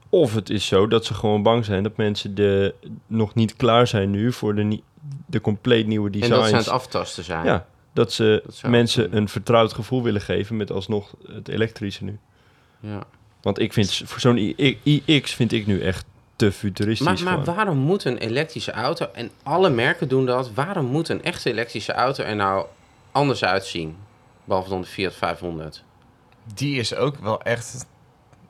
Speaker 2: Of het is zo dat ze gewoon bang zijn dat mensen de, nog niet klaar zijn nu voor de, nie- de compleet nieuwe
Speaker 3: En
Speaker 2: designs.
Speaker 3: dat ze aan het aftasten zijn.
Speaker 2: Ja, dat ze
Speaker 3: Dat zou
Speaker 2: mensen
Speaker 3: kunnen.
Speaker 2: een vertrouwd gevoel willen geven met alsnog het elektrische nu.
Speaker 3: Ja.
Speaker 2: Want ik vind s- voor zo'n I- I- iX vind ik nu echt te futuristisch.
Speaker 3: Maar, maar
Speaker 2: gewoon.
Speaker 3: waarom moet een elektrische auto, en alle merken doen dat, waarom moet een echte elektrische auto er nou anders uitzien? Behalve dan de Fiat 500.
Speaker 1: die is ook wel echt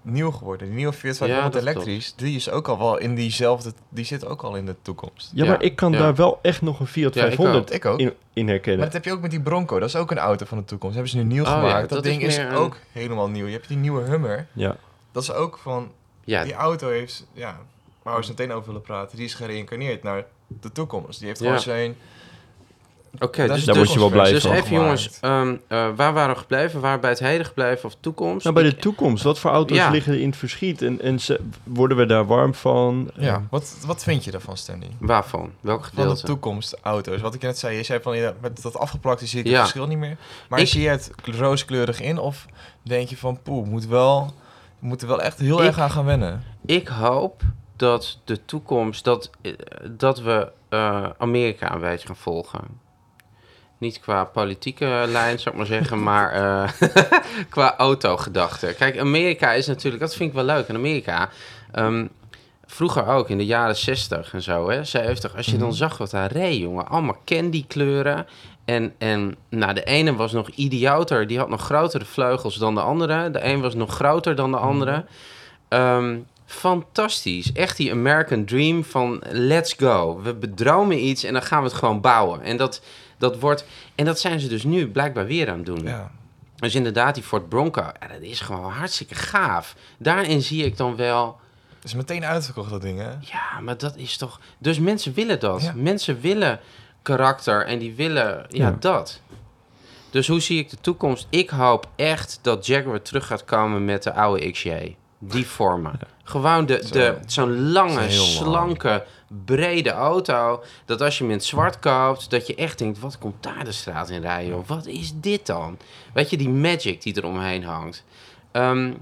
Speaker 1: nieuw geworden. Die nieuwe Fiat
Speaker 3: Ja,
Speaker 1: 500
Speaker 3: dat
Speaker 1: elektrisch, die is ook al wel in diezelfde... Die zit ook al in de toekomst.
Speaker 2: Ja,
Speaker 3: Ja,
Speaker 2: maar ik kan
Speaker 3: ja.
Speaker 2: daar wel echt nog een Fiat
Speaker 3: Ja, ik
Speaker 2: 500
Speaker 1: Ik ook.
Speaker 2: in, in herkennen.
Speaker 1: Maar dat heb je ook met die Bronco. Dat is ook een auto van de toekomst. hebben ze nu nieuw
Speaker 3: Oh ja,
Speaker 1: gemaakt. dat,
Speaker 3: dat is
Speaker 1: ding is,
Speaker 3: meer een-
Speaker 1: ook helemaal nieuw. Je hebt die nieuwe Hummer.
Speaker 2: Ja.
Speaker 1: Dat is ook van...
Speaker 3: Ja,
Speaker 1: Die auto heeft... Ja, waar we zo meteen over willen praten. Die is gereïncarneerd naar de toekomst. Die heeft
Speaker 3: Ja.
Speaker 1: gewoon zijn...
Speaker 3: oké.
Speaker 1: dat
Speaker 3: dus
Speaker 1: is
Speaker 2: Daar
Speaker 1: de
Speaker 2: word je wel
Speaker 1: toekomstversie.
Speaker 2: blij
Speaker 3: dus
Speaker 2: van.
Speaker 3: even
Speaker 1: gemaakt.
Speaker 3: jongens, ehm, eh, waar waren we gebleven? Waar we bij het heden gebleven of toekomst?
Speaker 2: Nou, bij de
Speaker 3: Ik-
Speaker 2: toekomst. Wat voor auto's
Speaker 3: Ja.
Speaker 2: liggen er in het verschiet? En, en ze- worden we daar warm van?
Speaker 1: Ja, Eh, wat, wat vind je daarvan, Stanley?
Speaker 3: Waarvan? Welk
Speaker 1: Van de
Speaker 3: gedeelte?
Speaker 1: toekomstauto's. Wat ik net zei, je zei van ja, met dat afgeplakte zie ik
Speaker 3: Ja.
Speaker 1: het verschil niet meer. Maar
Speaker 3: Ik-
Speaker 1: zie je het kle- rooskleurig in of denk je van poeh, moet wel, moet er wel echt heel
Speaker 3: Ik-
Speaker 1: erg aan gaan wennen?
Speaker 3: Ik hoop dat de toekomst, dat, eh, dat we eh, Amerika een beetje gaan volgen. Niet qua politieke lijn, zou ik maar zeggen, maar eh, qua autogedachte. Kijk, Amerika is natuurlijk, dat vind ik wel leuk in Amerika. ehm, vroeger ook, in de jaren 60 en zo, hè, 70. Als je dan zag wat daar reed, jongen. Allemaal candykleuren. En, en nou, de ene was nog idioter. Die had nog grotere vleugels dan de andere. De een was nog groter dan de andere. Ehm, fantastisch. Echt die American Dream van let's go. We bedromen iets en dan gaan we het gewoon bouwen. En dat, dat, wordt, en dat zijn ze dus nu blijkbaar weer aan het doen.
Speaker 1: Ja.
Speaker 3: Dus inderdaad, die Ford Bronco, ja, dat is gewoon hartstikke gaaf. Daarin zie ik dan wel,
Speaker 1: Het is meteen uitverkocht dat ding hè?
Speaker 3: ja, maar dat is toch... Dus mensen willen dat.
Speaker 1: Ja.
Speaker 3: Mensen willen karakter en die willen, ja,
Speaker 2: Ja.
Speaker 3: dat. Dus hoe zie ik de toekomst? Ik hoop echt dat Jaguar terug gaat komen met de oude XJ. Die vormen. Gewoon de,
Speaker 1: Zo.
Speaker 3: de, zo'n lange,
Speaker 1: Zo heel lang.
Speaker 3: slanke, brede auto. Dat als je hem in het zwart koopt, dat je echt denkt... wat komt daar de straat in rijden? joh? Wat is dit dan? Weet je, die magic die er omheen hangt. Ehm,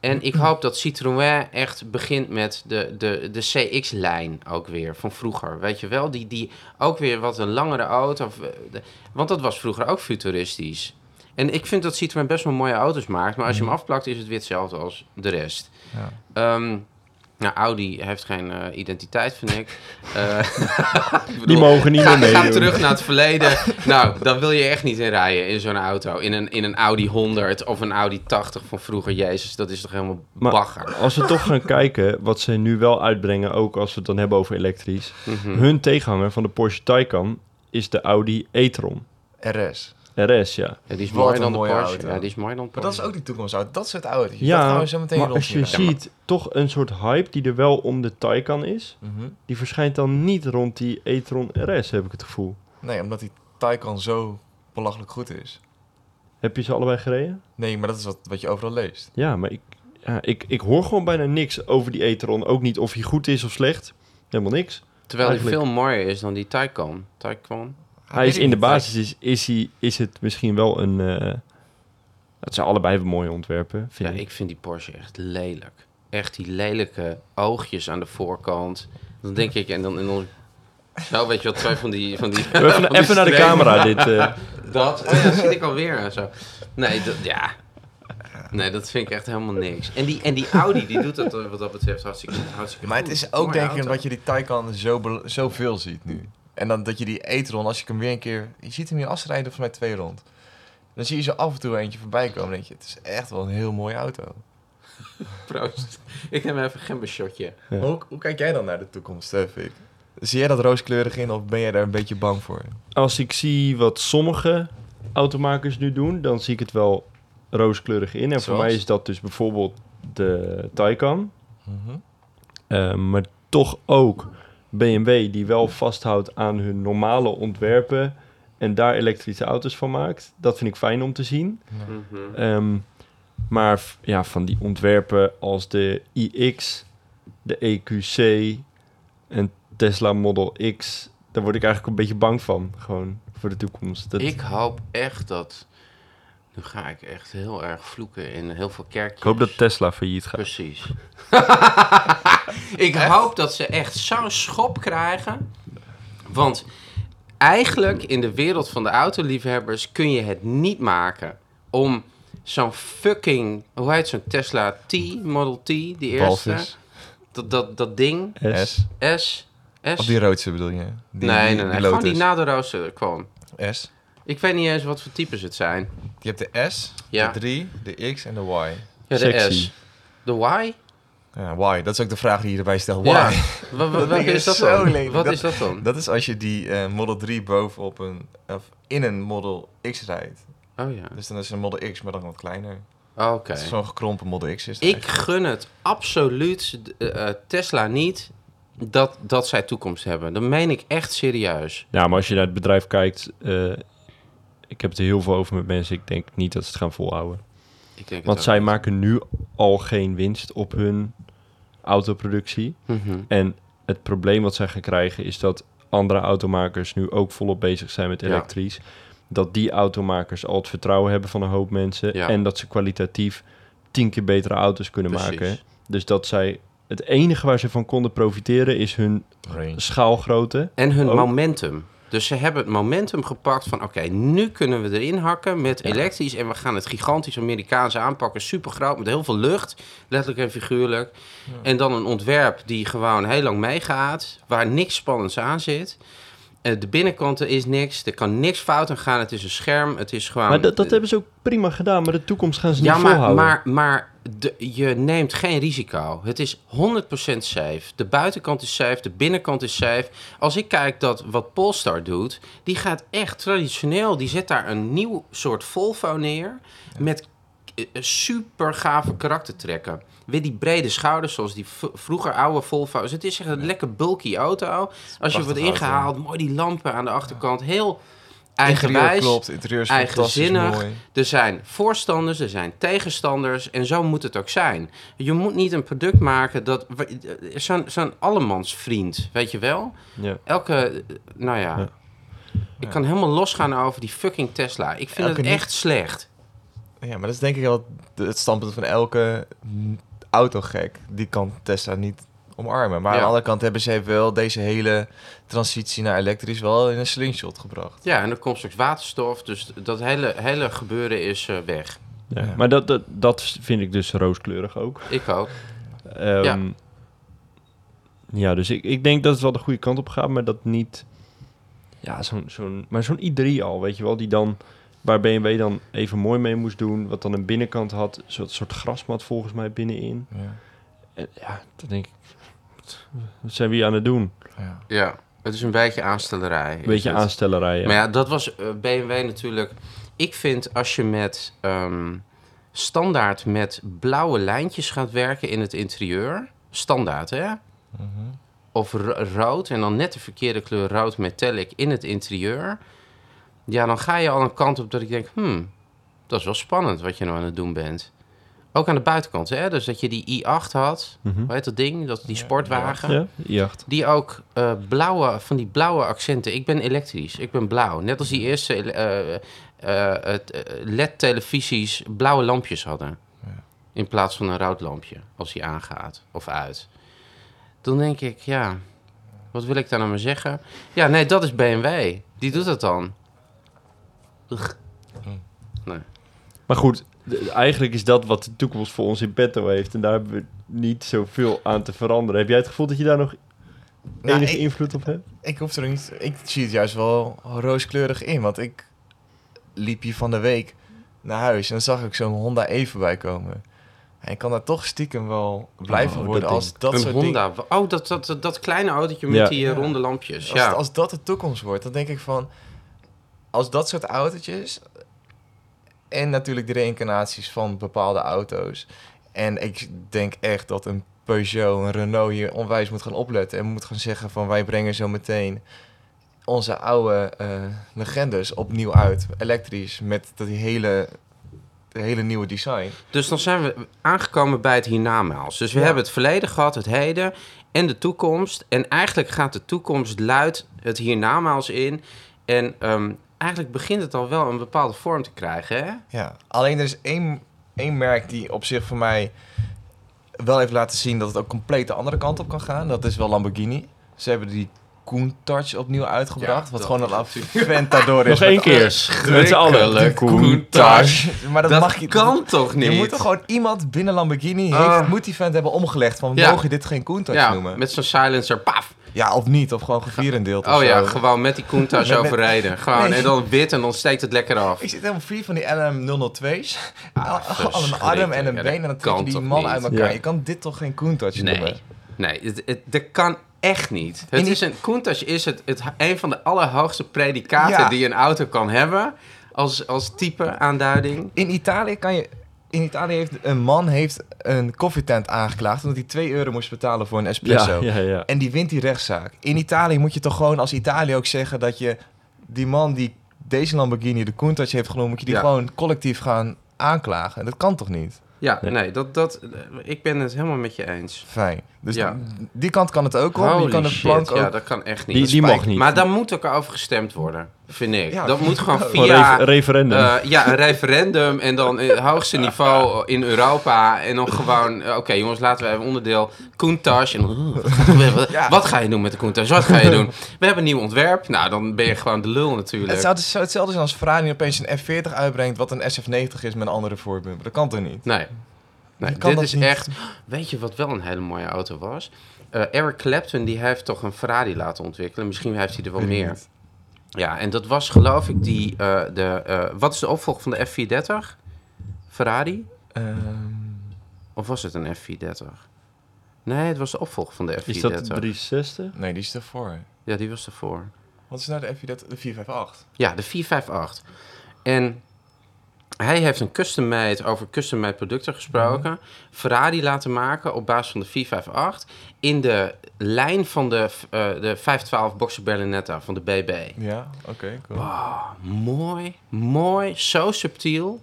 Speaker 3: en ik hoop dat Citroën echt begint met de, de, de CX-lijn ook weer van vroeger. Weet je wel, die, die ook weer wat een langere auto. of, eh, de- Want dat was vroeger ook futuristisch. En ik vind dat Citroën best wel mooie auto's maakt. Maar als je hem afplakt, is het weer hetzelfde als de rest.
Speaker 1: Mhm. Ja.
Speaker 3: Ehm, nou, Audi heeft geen eh, identiteit, vind ik. Eh, ik bedoel,
Speaker 2: Die mogen niet
Speaker 3: ga,
Speaker 2: meer mee.
Speaker 3: Ga terug naar het verleden. nou, dan wil je echt niet in rijden in zo'n auto. In een, in een Audi 100 of een Audi 80 van vroeger. Jezus, dat is toch helemaal
Speaker 2: Maar-
Speaker 3: bagger.
Speaker 2: Als we toch gaan kijken wat ze nu wel uitbrengen, ook als we het dan hebben over elektrisch.
Speaker 3: Mhm.
Speaker 2: Hun tegenhanger van de Porsche Taycan is de Audi e-tron.
Speaker 1: RS.
Speaker 2: RS, ja.
Speaker 3: Ja, die is
Speaker 1: Wat
Speaker 3: mooier
Speaker 1: een
Speaker 3: dan de
Speaker 1: mooie
Speaker 3: Porsche.
Speaker 1: auto.
Speaker 3: Ja, die is mooier dan de
Speaker 1: Maar dat is
Speaker 3: Porsche.
Speaker 1: ook die toekomstauto. Dat soort auto's. dat gaan
Speaker 2: ja,
Speaker 1: we zo meteen
Speaker 2: maar
Speaker 1: rond
Speaker 2: als je ziet toch een soort hype die er wel om de Taycan is,
Speaker 1: Mhm.
Speaker 2: die verschijnt dan niet rond die e-tron RS, heb ik het gevoel.
Speaker 1: Nee, omdat die Taycan zo belachelijk goed is.
Speaker 2: Heb je ze allebei gereden?
Speaker 1: Nee, maar dat is wat, wat je overal leest.
Speaker 2: Ja, maar ik, ja, ik, ik hoor gewoon bijna niks over die Etron. Ook niet of hij goed is of slecht. Helemaal niks.
Speaker 3: Terwijl die
Speaker 2: Eigenlijk.
Speaker 3: veel mooier is dan die Taycan. Taycan?
Speaker 2: Hij is
Speaker 1: Weet ik
Speaker 2: in de
Speaker 1: niet.
Speaker 2: basis is, is, hij, is het misschien wel een... eh het zijn allebei mooie ontwerpen,
Speaker 3: Ja,
Speaker 2: vind ik.
Speaker 3: ik vind die Porsche echt lelijk. Echt die lelijke oogjes aan de voorkant. Dan denk ik, en dan... En dan zo, weet je wat, twee van die... Van die
Speaker 2: Even,
Speaker 3: van die
Speaker 2: even naar de
Speaker 3: strepen.
Speaker 2: camera dit. eh.
Speaker 3: Dat, oh ja, dat zie ik alweer en zo. Nee, dat, ja. Nee, dat vind ik echt helemaal niks. En die, en die Audi, die doet dat eh, wat dat betreft hartstikke, hartstikke
Speaker 1: Maar
Speaker 3: goed.
Speaker 1: het is ook
Speaker 3: Mooie
Speaker 1: denk ik
Speaker 3: auto.
Speaker 1: omdat je die Taycan zo, bel- zo veel ziet nu. En dan dat je die e-tron, als ik hem weer een keer... Je ziet hem hier afrijden volgens mij twee rond. Dan zie je zo af en toe eentje voorbij komen. Dan denk je, het is echt wel een heel mooie auto.
Speaker 3: Proost. Ik neem even een gembershotje.
Speaker 2: Ja.
Speaker 1: Hoe, hoe kijk jij dan naar de toekomst, eh, Vic? Zie jij dat rooskleurig in of ben jij daar een beetje bang voor?
Speaker 2: Als ik zie wat sommige automakers nu doen, dan zie ik het wel rooskleurig in. En voor
Speaker 1: Zoals?
Speaker 2: mij is dat dus bijvoorbeeld de Taycan.
Speaker 1: Mhm.
Speaker 2: Eh, maar toch ook BMW die wel vasthoudt aan hun normale ontwerpen en daar elektrische auto's van maakt. Dat vind ik fijn om te zien.
Speaker 3: Mhm.
Speaker 2: Ehm, maar f- ja, van die ontwerpen als de iX, de EQC en Tesla Model X, daar word ik eigenlijk een beetje bang van, gewoon voor de toekomst. Dat,
Speaker 3: Ik hoop echt dat... Nu ga ik echt heel erg vloeken in heel veel kerkjes.
Speaker 2: ik hoop dat Tesla failliet gaat.
Speaker 3: Precies. ik hoop dat ze echt zo'n schop krijgen. Want eigenlijk in de wereld van de autoliefhebbers kun je het niet maken om zo'n fucking, hoe heet zo'n Tesla T, Model T, die eerste,
Speaker 1: Walvis,
Speaker 3: dat, dat, dat ding,
Speaker 2: S.
Speaker 1: S.
Speaker 3: S, S.
Speaker 1: Of die roodse bedoel je? Die-
Speaker 3: nee,
Speaker 1: die-
Speaker 3: nee, nee,
Speaker 1: die
Speaker 3: gewoon die
Speaker 1: Lotus.
Speaker 3: na de roze kwam.
Speaker 1: S.
Speaker 3: Ik weet niet eens wat voor types het zijn.
Speaker 1: Je hebt de S,
Speaker 3: Ja.
Speaker 1: de 3, de X en de Y.
Speaker 3: Ja, de
Speaker 2: Sexy.
Speaker 3: S. De Y?
Speaker 1: Ja, Y, dat is ook de vraag die je erbij stelt. Why?
Speaker 3: Ja. Wa- wa-
Speaker 1: Dat
Speaker 3: Wat
Speaker 1: ding is
Speaker 3: is dat
Speaker 1: zo
Speaker 3: dan?
Speaker 1: lelijk.
Speaker 3: Wat
Speaker 1: Dat-
Speaker 3: is dat dan?
Speaker 1: Dat is als je die eh, Model 3 bovenop een, of in een Model X rijdt.
Speaker 3: Oh ja.
Speaker 1: Dus dan is het een Model X, maar dan wat kleiner.
Speaker 3: Oké.
Speaker 1: Het is zo'n gekrompen Model X is het
Speaker 3: Ik
Speaker 1: eigenlijk.
Speaker 3: gun het absoluut eh, eh, Tesla niet dat, dat zij toekomst hebben. Dat meen ik echt serieus.
Speaker 2: Ja, maar als je naar het bedrijf kijkt, eh, ik heb het er heel veel over met mensen. Ik denk niet dat ze het gaan volhouden.
Speaker 3: Ik denk
Speaker 2: Want zij maken nu al geen winst op hun autoproductie.
Speaker 3: Mhm.
Speaker 2: En het probleem wat zij gaan krijgen is dat andere automakers nu ook volop bezig zijn met
Speaker 3: Ja.
Speaker 2: elektrisch. Dat die automakers al het vertrouwen hebben van een hoop mensen.
Speaker 3: Ja.
Speaker 2: En dat ze kwalitatief tien keer betere auto's kunnen
Speaker 3: Precies.
Speaker 2: maken. Dus dat zij het enige waar ze van konden profiteren is hun
Speaker 1: Range.
Speaker 2: schaalgrootte.
Speaker 3: En hun
Speaker 2: Ook.
Speaker 3: momentum. Dus ze hebben het momentum gepakt van... oké, nu kunnen we erin hakken met
Speaker 2: Ja.
Speaker 3: elektrisch... en we gaan het gigantisch Amerikaanse aanpakken. Super groot, met heel veel lucht. Letterlijk en figuurlijk. En dan een ontwerp die gewoon heel lang meegaat... waar niks spannends aan zit. Eh, de binnenkant er is niks. Er kan niks fout aan gaan. Het is een scherm. Het is gewoon...
Speaker 2: Maar dat, dat
Speaker 3: eh,
Speaker 2: hebben ze ook prima gedaan, maar de toekomst gaan ze
Speaker 3: ja,
Speaker 2: niet
Speaker 3: maar,
Speaker 2: volhouden.
Speaker 3: maar, maar de- je neemt geen risico. Het is 100% safe. De buitenkant is safe, de binnenkant is safe. Als ik kijk dat wat Polestar doet, die gaat echt traditioneel. Die zet daar een nieuw soort Volvo neer met eh, eh, super gave karaktertrekken. Weer die brede schouders, zoals die v- vroeger oude Volvo's. Het is echt een lekker bulky auto. Als je
Speaker 1: prachtige
Speaker 3: wordt
Speaker 1: auto.
Speaker 3: ingehaald, mooi die lampen aan de achterkant. Heel
Speaker 1: Interieur
Speaker 3: eigenwijs.
Speaker 1: klopt, interieur is
Speaker 3: Eigenzinnig.
Speaker 1: fantastisch mooi.
Speaker 3: Er zijn voorstanders, er zijn tegenstanders en zo moet het ook zijn. Je moet niet een product maken dat... Zo'n zo'n allemansvriend, weet je wel?
Speaker 2: Ja.
Speaker 3: Elke, eh, nou ja...
Speaker 2: Ja.
Speaker 3: Ik kan helemaal losgaan over die fucking Tesla. Ik vind
Speaker 1: Elke
Speaker 3: het
Speaker 1: niet-
Speaker 3: echt slecht.
Speaker 1: Ja, maar dat is denk ik wel de- het standpunt van elke mm, autogek. Die kan Tesla niet omarmen. Maar
Speaker 3: Ja.
Speaker 1: aan de andere kant hebben ze wel deze hele transitie naar elektrisch wel in een slingshot gebracht.
Speaker 3: Ja, en er komt straks waterstof, dus dat hele, hele gebeuren is eh, weg.
Speaker 2: Ja.
Speaker 1: Ja.
Speaker 2: Maar dat, dat, dat vind ik dus rooskleurig ook.
Speaker 3: Ik ook.
Speaker 2: Ehm,
Speaker 3: Ja.
Speaker 2: ja. dus ik, ik denk dat het wel de goede kant op gaat, maar dat niet... Ja, zo'n, zo'n, maar zo'n i3 al, weet je wel, die dan... Waar BMW dan even mooi mee moest doen, wat dan een binnenkant had, een soort, soort grasmat volgens mij binnenin.
Speaker 1: Ja.
Speaker 2: En ja, dan denk ik, wat zijn we hier aan het doen?
Speaker 1: Ja.
Speaker 3: Ja, het is een beetje aanstellerij. is
Speaker 2: Een beetje
Speaker 3: het.
Speaker 2: aanstellerij, ja.
Speaker 3: Maar ja, dat was eh, BMW natuurlijk. Ik vind als je met ehm, standaard met blauwe lijntjes gaat werken in het interieur, standaard hè,
Speaker 1: Mhm.
Speaker 3: of ro- rood en dan net de verkeerde kleur rood metallic in het interieur, ja, dan ga je al een kant op dat ik denk, hmm, dat is wel spannend wat je nou aan het doen bent. Ook aan de buitenkant, hè? Dus dat je die i8 had,
Speaker 2: Mhm.
Speaker 3: hoe heet dat ding? Dat, die
Speaker 1: Ja,
Speaker 3: sportwagen.
Speaker 2: Ja, jacht.
Speaker 3: Die ook eh, blauwe, van die blauwe accenten. Ik ben elektrisch, ik ben blauw. Net als die eerste eh, eh, eh, het, eh, LED-televisies blauwe lampjes hadden.
Speaker 1: Ja.
Speaker 3: In plaats van een rood lampje, als die aangaat of uit. Dan denk ik, ja, wat wil ik daar nou maar zeggen? Ja, nee, dat is BMW. Die doet dat dan. Ugh.
Speaker 2: Maar goed, de- eigenlijk is dat wat de toekomst voor ons in petto heeft. En daar hebben we niet zoveel aan te veranderen. Heb jij het gevoel dat je daar nog
Speaker 1: Nou,
Speaker 2: enige
Speaker 1: ik-
Speaker 2: invloed op hebt?
Speaker 1: Ik hoef er niet. Ik zie het juist wel rooskleurig in. Want ik liep hier van de week naar huis en dan zag ik zo'n Honda E voorbij komen. En ik kan daar toch stiekem wel blij van
Speaker 2: Oh,
Speaker 1: worden
Speaker 2: dat
Speaker 1: als dat
Speaker 3: een
Speaker 1: soort
Speaker 3: Honda. Oh, dat, dat, dat, dat kleine autootje met
Speaker 2: Ja.
Speaker 3: die eh,
Speaker 1: Ja.
Speaker 3: ronde lampjes.
Speaker 1: dingen.
Speaker 3: Ja.
Speaker 1: Als, als dat de toekomst wordt, dan denk ik van. Als dat soort autootjes. En natuurlijk de reïncarnaties van bepaalde auto's. En ik denk echt dat een Peugeot, een Renault hier onwijs moet gaan opletten. En moet gaan zeggen van wij brengen zo meteen onze oude eh, legendes opnieuw uit. Elektrisch, met dat die hele, de hele nieuwe design.
Speaker 3: Dus dan zijn we aangekomen bij het hiernamaals. Dus we
Speaker 1: Ja.
Speaker 3: hebben het verleden gehad, het heden en de toekomst. En eigenlijk gaat de toekomst luid het hiernamaals in. En ehm, eigenlijk begint het al wel een bepaalde vorm te krijgen, hè?
Speaker 1: Ja, alleen er is één, één merk die op zich voor mij wel heeft laten zien dat het ook compleet de andere kant op kan gaan. Dat is wel Lamborghini. Ze hebben die Koentouch opnieuw uitgebracht.
Speaker 4: Ja,
Speaker 1: wat
Speaker 4: dat
Speaker 1: gewoon
Speaker 4: is
Speaker 1: een aventador is.
Speaker 2: Nog één keer. Met z'n allen.
Speaker 3: Schrikkelijk.
Speaker 1: Koentouch. Maar dat,
Speaker 3: dat
Speaker 1: mag je...
Speaker 3: kan toch niet?
Speaker 1: Je moet toch gewoon iemand binnen Lamborghini heeft,
Speaker 3: Ah.
Speaker 1: moet die vent hebben omgelegd van
Speaker 3: Ja.
Speaker 1: mogen je dit geen Countach
Speaker 3: ja,
Speaker 1: noemen?
Speaker 3: met zo'n silencer, paf.
Speaker 1: Ja, of niet, of gewoon gevierendeeld of
Speaker 3: Oh ja,
Speaker 1: zo.
Speaker 3: gewoon met die Countach
Speaker 1: Met- met-
Speaker 3: overrijden. Gewoon,
Speaker 1: Nee.
Speaker 3: en dan wit en dan steekt het lekker af.
Speaker 1: Ik zit helemaal free van die LM002's. Al al een arm
Speaker 3: Ah, verschrikkelijk.
Speaker 1: en een
Speaker 3: Ja,
Speaker 1: been en
Speaker 3: dat
Speaker 1: dan trek
Speaker 3: kan
Speaker 1: je die
Speaker 3: toch
Speaker 1: man
Speaker 3: niet?
Speaker 1: uit elkaar.
Speaker 2: Ja.
Speaker 1: Je kan dit toch geen Countach
Speaker 3: Nee,
Speaker 1: noemen?
Speaker 3: nee het, het, dat kan echt niet. Het
Speaker 1: In-
Speaker 3: is een, Countach is het, het, een van de allerhoogste predicaten
Speaker 1: Ja.
Speaker 3: die een auto kan hebben. Als, als type aanduiding.
Speaker 1: In Italië kan je... In Italië heeft een man heeft een koffietent aangeklaagd... omdat hij 2 euro moest betalen voor een espresso.
Speaker 2: Ja, ja, ja.
Speaker 1: En die wint die rechtszaak. In Italië moet je toch gewoon als Italië ook zeggen... dat je die man die deze Lamborghini de Countach heeft genoemd... moet je die
Speaker 3: Ja.
Speaker 1: gewoon collectief gaan aanklagen. Dat kan toch niet?
Speaker 3: Ja,
Speaker 2: Nee.
Speaker 3: nee, dat, dat, ik ben het helemaal met je eens.
Speaker 1: Fijn. Dus
Speaker 3: Ja.
Speaker 1: die kant kan het ook op. Je kan de
Speaker 3: shit,
Speaker 1: plank ook...
Speaker 3: ja, dat kan echt niet.
Speaker 2: Die, die mag niet.
Speaker 3: Maar daar moet ook over gestemd worden, vind ik.
Speaker 1: Ja,
Speaker 3: dat
Speaker 1: vind
Speaker 3: moet
Speaker 1: ik
Speaker 3: gewoon
Speaker 1: ook.
Speaker 2: Gewoon
Speaker 3: via...
Speaker 2: refer- referendum.
Speaker 3: eh, ja, een referendum en dan het hoogste niveau in Europa. En dan gewoon, eh, oké jongens, laten we even onderdeel Countach. En, dan, wat gaan we-
Speaker 1: Ja.
Speaker 3: Wat ga je doen met de Countach? Wat ga je doen? We hebben een nieuw ontwerp. Nou, dan ben je gewoon de lul natuurlijk.
Speaker 1: Het zou dus- het zou hetzelfde zijn als Ferrari opeens een F40 uitbrengt... wat een SF90 is met een andere voorbumper. Dat kan toch niet?
Speaker 3: Nee. nee
Speaker 1: Je kan
Speaker 3: dit
Speaker 1: dat
Speaker 3: is
Speaker 1: niet.
Speaker 3: echt... Weet je wat wel een hele mooie auto was? Eh, Eric Clapton, die heeft toch een Ferrari laten ontwikkelen. Misschien heeft hij er wel
Speaker 1: Weet ik
Speaker 3: meer.
Speaker 1: niet.
Speaker 3: Ja, en dat was geloof ik die... eh, de, eh, wat is de opvolger van de F430? Ferrari?
Speaker 1: Ehm,
Speaker 3: Of was het een F430? Nee, het was de opvolger van de F430.
Speaker 2: Is dat de 360?
Speaker 1: nee, die is ervoor.
Speaker 3: Ja, die was ervoor.
Speaker 1: Wat is nou de F40? De 458.
Speaker 3: Ja, de 458. En hij heeft een custom-made, over custom-made producten gesproken,
Speaker 2: Mhm.
Speaker 3: Ferrari laten maken op basis van de 458 in de lijn van de, eh, de 512 Boxer Berlinetta van de BB.
Speaker 1: Ja, oké, cool.
Speaker 3: Wow, mooi, mooi, zo subtiel.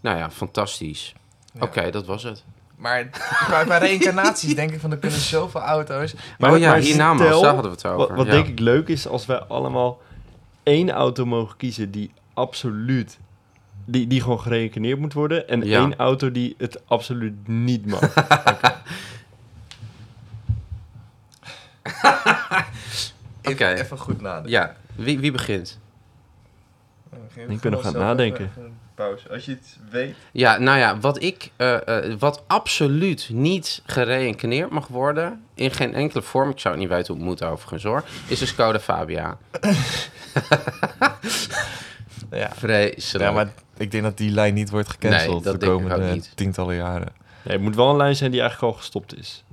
Speaker 3: Nou ja, fantastisch.
Speaker 1: Ja.
Speaker 3: Oké, dat was het.
Speaker 1: Maar bij, bij reïncarnaties denk ik van, er kunnen zoveel auto's.
Speaker 3: Maar, oh ja,
Speaker 2: maar
Speaker 3: hierna maar,
Speaker 2: stel-
Speaker 3: daar hadden we het over.
Speaker 2: Wat, wat
Speaker 3: ja.
Speaker 2: denk ik leuk is, als wij allemaal één auto mogen kiezen die absoluut... Die, die gewoon gerekeneerd moet worden. En
Speaker 3: Ja.
Speaker 2: één auto die het absoluut niet mag.
Speaker 1: Even,
Speaker 3: Oké.
Speaker 1: even goed nadenken.
Speaker 3: Ja, wie, wie begint?
Speaker 2: Ik ben nog aan het nadenken.
Speaker 1: Pauze. Als je het weet.
Speaker 3: Ja, nou ja, wat ik, eh, eh, wat absoluut niet gereïncarneerd mag worden, in geen enkele vorm, ik zou het niet weten hoe het moet overigens hoor, is de Skoda Fabia.
Speaker 1: Ja.
Speaker 3: Vreselijk.
Speaker 1: ja, maar ik denk dat die lijn niet wordt gecanceld
Speaker 3: Nee, dat
Speaker 1: de
Speaker 3: denk ik
Speaker 1: komende
Speaker 3: ook niet.
Speaker 1: tientallen jaren.
Speaker 2: Nee, het moet wel een lijn zijn die eigenlijk al gestopt is.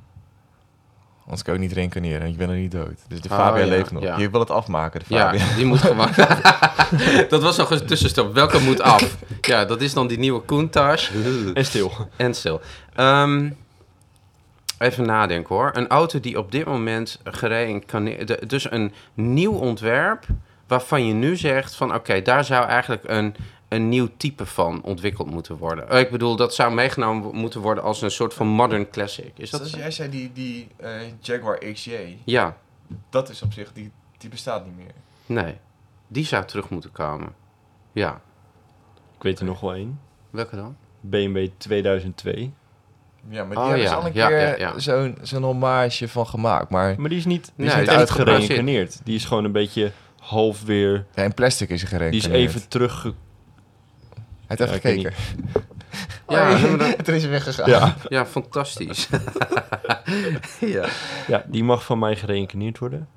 Speaker 1: Anders kan je ook niet reïncarneren, want je bent er niet dood. Dus de
Speaker 3: Oh,
Speaker 1: Fabia
Speaker 3: ja,
Speaker 1: leeft nog.
Speaker 3: ja.
Speaker 1: Je wil het afmaken, de
Speaker 3: Ja,
Speaker 1: Fabia.
Speaker 3: die moet gewoon... dat was nog een tussenstap. Welke moet af? Ja, dat is dan die nieuwe Countach.
Speaker 2: En stil.
Speaker 3: En stil. Ehm, even nadenken hoor. Een auto die op dit moment gereïncarneerd... Dus een nieuw ontwerp waarvan je nu zegt van... Oké, daar zou eigenlijk een, een nieuw type van ontwikkeld moeten worden. Eh, Ik bedoel, dat zou meegenomen wo- moeten worden als een soort van modern classic. Is dat
Speaker 1: Zoals
Speaker 3: zo?
Speaker 1: Dus jij zei, die, die eh, Jaguar XJ,
Speaker 3: Ja,
Speaker 1: dat is op zich, die, die bestaat niet meer.
Speaker 3: nee. Die zou terug moeten komen. Ja.
Speaker 2: Ik weet er nog wel één.
Speaker 3: Welke dan?
Speaker 2: BMW 2002.
Speaker 1: Ja, maar die
Speaker 3: Oh,
Speaker 1: hebben
Speaker 3: ja,
Speaker 1: ze al een
Speaker 3: ja,
Speaker 1: keer
Speaker 3: ja, ja.
Speaker 1: zo'n zo'n hommage van gemaakt. Maar
Speaker 2: Maar die is niet, die
Speaker 3: Nee,
Speaker 2: is niet
Speaker 3: die is
Speaker 2: echt
Speaker 3: gebaseerd.
Speaker 2: gereïncarneerd. Die is gewoon een beetje half weer...
Speaker 1: ja, in plastic is hij gereden.
Speaker 2: Die is even terug...
Speaker 1: Hij heeft even
Speaker 2: Ja, ik weet
Speaker 1: gekeken.
Speaker 3: Ja,
Speaker 1: Oh,
Speaker 3: maar dat-
Speaker 1: het is weggegaan.
Speaker 2: Ja.
Speaker 3: ja fantastisch. ja.
Speaker 2: ja, die mag van mij gereïncarneerd worden.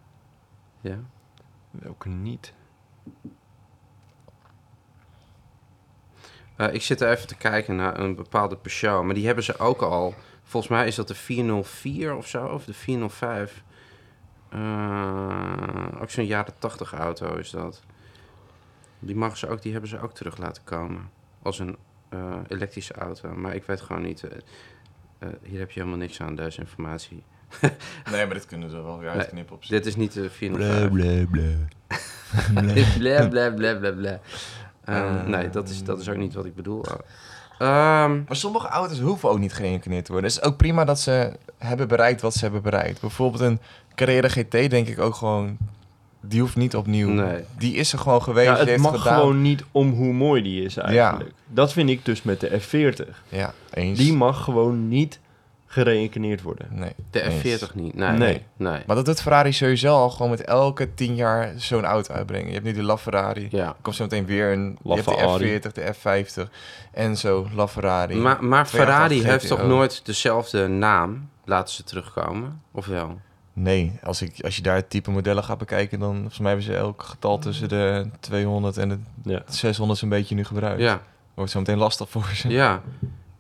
Speaker 3: ja.
Speaker 2: Welke niet?
Speaker 3: Eh, ik zit even te kijken naar een bepaalde persoon, maar die hebben ze ook al. Volgens mij is dat de 404 of zo, of de 405. Eh, ook zo'n jaren 80 auto is dat. Die, mag ze ook, die hebben ze ook terug laten komen. Als een eh, elektrische auto. Maar ik weet gewoon niet. eh, eh, hier heb je helemaal niks aan, deze informatie.
Speaker 1: Nee, maar dit kunnen ze wel weer uitknippen op zich.
Speaker 3: Dit is niet de 405. Bla bla bla bla bla. Eh, nee, dat is, dat is ook niet wat ik bedoel. Ehm,
Speaker 1: Maar sommige auto's hoeven ook niet geïncarneerd te worden. Het is ook prima dat ze hebben bereikt wat ze hebben bereikt. Bijvoorbeeld een Carrera GT denk ik ook gewoon... Die hoeft niet opnieuw.
Speaker 3: Nee.
Speaker 1: Die is er gewoon geweest.
Speaker 2: Ja,
Speaker 1: die
Speaker 2: het
Speaker 1: heeft
Speaker 2: mag
Speaker 1: gedaan.
Speaker 2: gewoon niet om hoe mooi die is eigenlijk. Dat vind ik dus met de F40.
Speaker 1: Ja, eens.
Speaker 2: Die mag gewoon niet gereïncarneerd worden.
Speaker 1: Nee.
Speaker 3: De
Speaker 1: Eens.
Speaker 3: F40 niet. Nee.
Speaker 2: Nee.
Speaker 3: Nee. nee.
Speaker 1: Maar dat doet Ferrari sowieso al gewoon met elke tien jaar zo'n auto uitbrengen. Je hebt nu de LaFerrari. Er
Speaker 3: Ja.
Speaker 1: komt zo meteen weer een... Je hebt
Speaker 2: LaFerrari.
Speaker 1: de F40, de F50 en zo, LaFerrari.
Speaker 3: Maar, maar
Speaker 1: Twee jaar
Speaker 3: Ferrari
Speaker 1: geleden
Speaker 3: heeft toch
Speaker 1: GTO.
Speaker 3: nooit dezelfde naam? Laten ze terugkomen? Of wel?
Speaker 1: Nee, als, ik, als je daar het type modellen gaat bekijken... dan volgens mij hebben ze elk getal tussen de 200 en de
Speaker 2: Ja.
Speaker 1: 600 een beetje nu gebruikt.
Speaker 3: Ja.
Speaker 1: Wordt zo meteen lastig voor ze.
Speaker 3: Ja.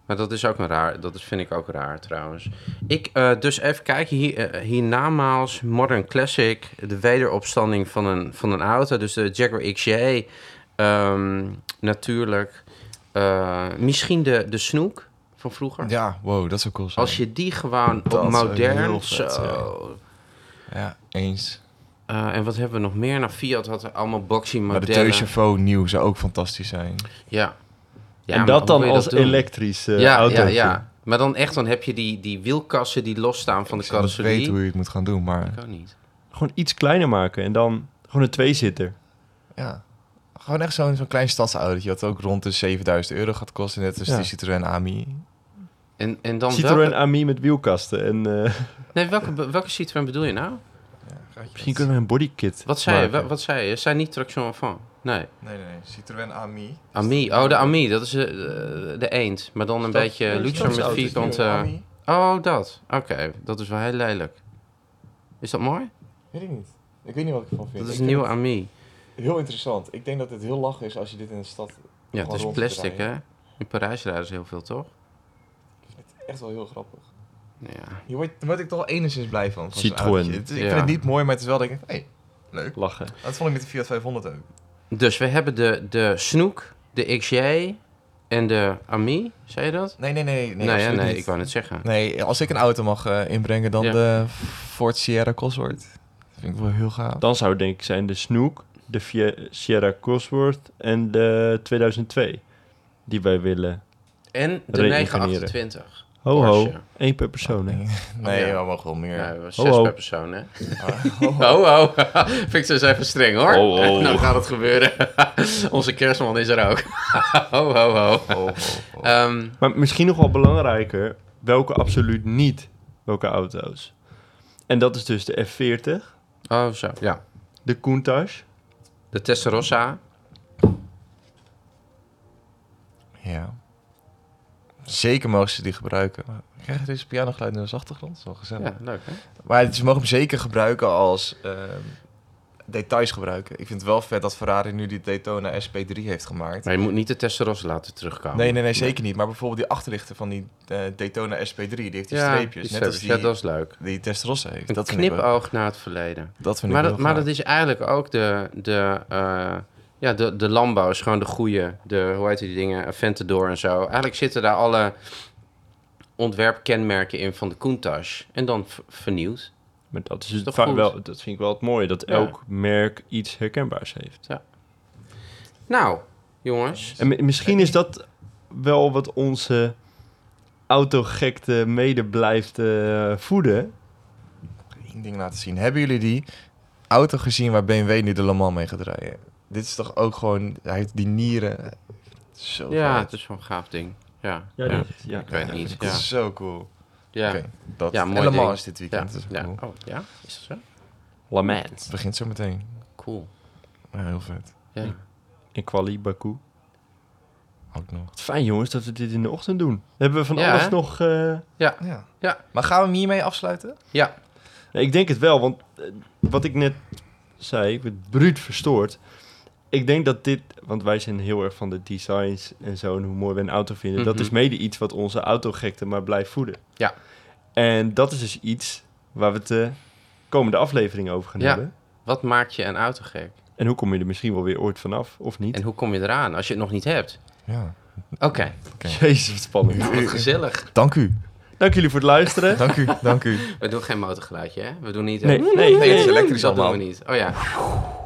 Speaker 3: Maar dat is ook een raar. Dat is- vind ik ook raar trouwens. Ik, eh, dus even kijken hier, eh, hiernamaals Modern Classic, de wederopstanding van een, van een auto. Dus de Jaguar XJ, ehm, natuurlijk. Eh, misschien de, de Snoek van vroeger.
Speaker 1: Ja, wow, dat zou cool zijn.
Speaker 3: Als je die gewoon
Speaker 1: Dat
Speaker 3: op
Speaker 1: zou
Speaker 3: modern...
Speaker 1: heel vet
Speaker 3: Zo.
Speaker 1: Ja, eens.
Speaker 3: Eh, en wat hebben we nog meer? Nou, Fiat had er allemaal boxy
Speaker 1: Maar de
Speaker 3: modellen.
Speaker 1: Teuchevo nieuw zou ook fantastisch zijn.
Speaker 3: Ja. ja
Speaker 2: en
Speaker 3: maar
Speaker 2: dat
Speaker 3: hoe
Speaker 2: dan
Speaker 3: wil je
Speaker 2: als
Speaker 3: doen?
Speaker 2: elektrisch eh
Speaker 3: ja,
Speaker 2: auto.
Speaker 3: ja, ja. Maar dan echt, dan heb je die, die wielkassen die losstaan van de
Speaker 1: Ik weet
Speaker 3: carrosserie.
Speaker 1: hoe je het moet gaan doen, maar...
Speaker 3: Ik ook niet.
Speaker 2: Gewoon iets kleiner maken en dan gewoon een tweezitter.
Speaker 1: Ja. Gewoon echt zo'n zo'n klein stadsautootje dat ook rond de 7000 euro gaat kosten. Net als
Speaker 2: Ja.
Speaker 1: die Citroën AMI.
Speaker 3: En, en dan
Speaker 2: Citroën
Speaker 3: welke,
Speaker 2: Ami met wielkasten. En, eh,
Speaker 3: nee, welke, be- welke Citroën bedoel je nou?
Speaker 2: misschien kunnen we een bodykit
Speaker 3: Wat zei je?
Speaker 2: maken.
Speaker 3: Wa- Wat zei je? Zijn niet traction enfant? Nee.
Speaker 1: Nee, nee, nee. Citroën AMI.
Speaker 3: Ami. Oh, de Ami. Dat is eh, de eend. Maar dan een
Speaker 2: dat-
Speaker 3: beetje
Speaker 2: nee, dat is
Speaker 3: luxer met
Speaker 2: stadsauto.
Speaker 3: vierkante... Oh, dat. Oké. Dat is wel heel lelijk. Is dat mooi?
Speaker 1: Weet ik niet. Ik weet niet wat ik ervan vind.
Speaker 3: Dat is
Speaker 1: Ik
Speaker 3: een
Speaker 1: vind
Speaker 3: nieuwe Ami.
Speaker 1: het heel interessant. Ik denk dat het heel lach is als je dit in de stad...
Speaker 3: Ja, het
Speaker 1: Gewoon
Speaker 3: is
Speaker 1: rond
Speaker 3: plastic,
Speaker 1: draaien.
Speaker 3: hè? In Parijs rijden ze heel veel, toch?
Speaker 1: Echt wel heel grappig.
Speaker 3: Ja.
Speaker 1: Hier word, daar word ik toch wel enigszins blij van. van zo'n
Speaker 2: Citroën.
Speaker 1: autootje. Het- Ik
Speaker 3: Ja.
Speaker 1: vind het niet mooi, maar het is wel dat ik denk, hey, leuk.
Speaker 2: lachen.
Speaker 1: Dat vond ik met de Fiat 500 ook.
Speaker 3: Dus we hebben de, de Snoek, de XJ en de Ami. Zei je dat?
Speaker 1: Nee, nee, nee. Nee,
Speaker 3: Nee, nee,
Speaker 1: absoluut
Speaker 3: nee
Speaker 1: niet.
Speaker 3: ik wou het zeggen.
Speaker 1: Nee, als ik een auto mag eh, inbrengen, dan
Speaker 3: Ja.
Speaker 1: de Ford Sierra Cosworth. Dat vind ik wel heel gaaf.
Speaker 2: Dan zou het denk ik zijn de Snoek, de Fie- Sierra Cosworth en de 2002. Die wij willen.
Speaker 3: En de
Speaker 2: Reïncarneren.
Speaker 3: 928.
Speaker 2: Ho ho,
Speaker 3: Porsche.
Speaker 2: één per persoon. hè?
Speaker 1: Nee,
Speaker 3: Oh, ja.
Speaker 1: we mogen wel meer.
Speaker 3: Ja, we hebben
Speaker 2: Ho,
Speaker 3: zes
Speaker 2: ho.
Speaker 3: per persoon, hè? Oh, oh. Vind ik dus even streng, hoor.
Speaker 2: Ho, ho.
Speaker 3: Nou gaat het gebeuren. Onze kerstman is er ook. ho, ho, ho.
Speaker 1: Oh,
Speaker 3: Ehm,
Speaker 2: Maar misschien nog wel belangrijker, welke absoluut niet, welke auto's. En dat is dus de F40,
Speaker 3: oh, zo. Ja.
Speaker 2: de Countach,
Speaker 3: De Tesserossa.
Speaker 1: Ja. Zeker mogen ze die gebruiken. Ik krijg deze pianogeluid nu als achtergrond. Dat is wel gezellig.
Speaker 3: Ja, leuk, hè?
Speaker 1: Maar ze mogen hem zeker gebruiken als ehm, details gebruiken. Ik vind het wel vet dat Ferrari nu die Daytona SP3 heeft gemaakt.
Speaker 3: Maar je moet niet de Tesserossa laten terugkomen.
Speaker 1: Nee, nee, nee, zeker niet. Maar bijvoorbeeld die achterlichten van die eh, Daytona SP3, die heeft die
Speaker 3: Ja,
Speaker 1: streepjes.
Speaker 3: die
Speaker 1: net als
Speaker 3: streepjes.
Speaker 1: die,
Speaker 3: Ja, dat is leuk.
Speaker 1: die Testarossa heeft.
Speaker 3: Een
Speaker 1: dat vind ik wel-
Speaker 3: knipoog naar het verleden.
Speaker 1: dat vind
Speaker 3: maar,
Speaker 1: ik
Speaker 3: dat,
Speaker 1: wel
Speaker 3: maar
Speaker 1: gaaf.
Speaker 3: dat is eigenlijk ook de, de, eh, ja, de, de landbouw is gewoon de goede. De, hoe heet die dingen? Eh, Ventador en zo. Eigenlijk zitten daar alle ontwerpkenmerken in van de Countach. En dan v- vernieuwd.
Speaker 2: Maar dat, is
Speaker 3: toch
Speaker 2: vaak
Speaker 3: goed?
Speaker 2: wel, dat vind ik wel het mooie, dat elk merk iets herkenbaars heeft.
Speaker 3: Nou, jongens.
Speaker 2: En mi- misschien is dat wel wat onze autogekte mede blijft eh, voeden.
Speaker 1: één ding laten zien. Hebben jullie die auto gezien waar BMW nu de Le Mans mee gaat rijden? Dit is toch ook gewoon... Hij heeft die nieren... Zo
Speaker 3: Ja,
Speaker 1: vet.
Speaker 3: het is wel een gaaf ding. Ja,
Speaker 2: Ja,
Speaker 3: ja.
Speaker 2: dat- ja.
Speaker 3: ik weet het niet.
Speaker 1: Dat
Speaker 3: Ja,
Speaker 1: is zo cool.
Speaker 3: ja.
Speaker 1: Oké, dat.
Speaker 3: Ja,
Speaker 1: en
Speaker 3: mooi
Speaker 1: Le Mans
Speaker 3: ding.
Speaker 1: is dit
Speaker 3: ja.
Speaker 1: weekend. dat is
Speaker 3: ja.
Speaker 1: cool.
Speaker 3: Oh, ja, is dat zo?
Speaker 2: Lament.
Speaker 1: Het begint zo meteen.
Speaker 3: Cool.
Speaker 1: Ja, heel vet.
Speaker 3: Ja.
Speaker 2: In Quali, Baku.
Speaker 1: Ook nog.
Speaker 2: Wat fijn jongens dat we dit in de ochtend doen. Hebben we van
Speaker 3: Ja,
Speaker 2: alles
Speaker 3: hè?
Speaker 2: nog... eh,
Speaker 1: Ja.
Speaker 3: Ja.
Speaker 1: Maar gaan we hem hiermee afsluiten?
Speaker 3: ja,
Speaker 2: Ja, ik denk het wel, want eh, wat ik net zei, ik werd bruut verstoord. Ik denk dat dit, want wij zijn heel erg van de designs en zo en hoe mooi we een auto vinden. Dat
Speaker 3: Mhm.
Speaker 2: is mede iets wat onze autogekte maar blijft voeden.
Speaker 3: Ja.
Speaker 2: En dat is dus iets waar we het de komende aflevering over gaan
Speaker 3: Ja.
Speaker 2: hebben.
Speaker 3: wat maakt je een auto gek?
Speaker 2: En hoe kom je er misschien wel weer ooit vanaf, of niet?
Speaker 3: En hoe kom je eraan als je het nog niet hebt?
Speaker 1: Ja.
Speaker 3: Oké,
Speaker 2: Jezus, wat spannend.
Speaker 3: wat gezellig.
Speaker 1: Dank u.
Speaker 2: Dank jullie voor het luisteren.
Speaker 1: Dank u. Dank u.
Speaker 3: We doen geen motorgeluidje, hè? We doen niet...
Speaker 2: Nee, nee, nee.
Speaker 3: dat-
Speaker 1: elektrisch
Speaker 3: dat doen we
Speaker 1: allemaal.
Speaker 3: niet. Oh ja.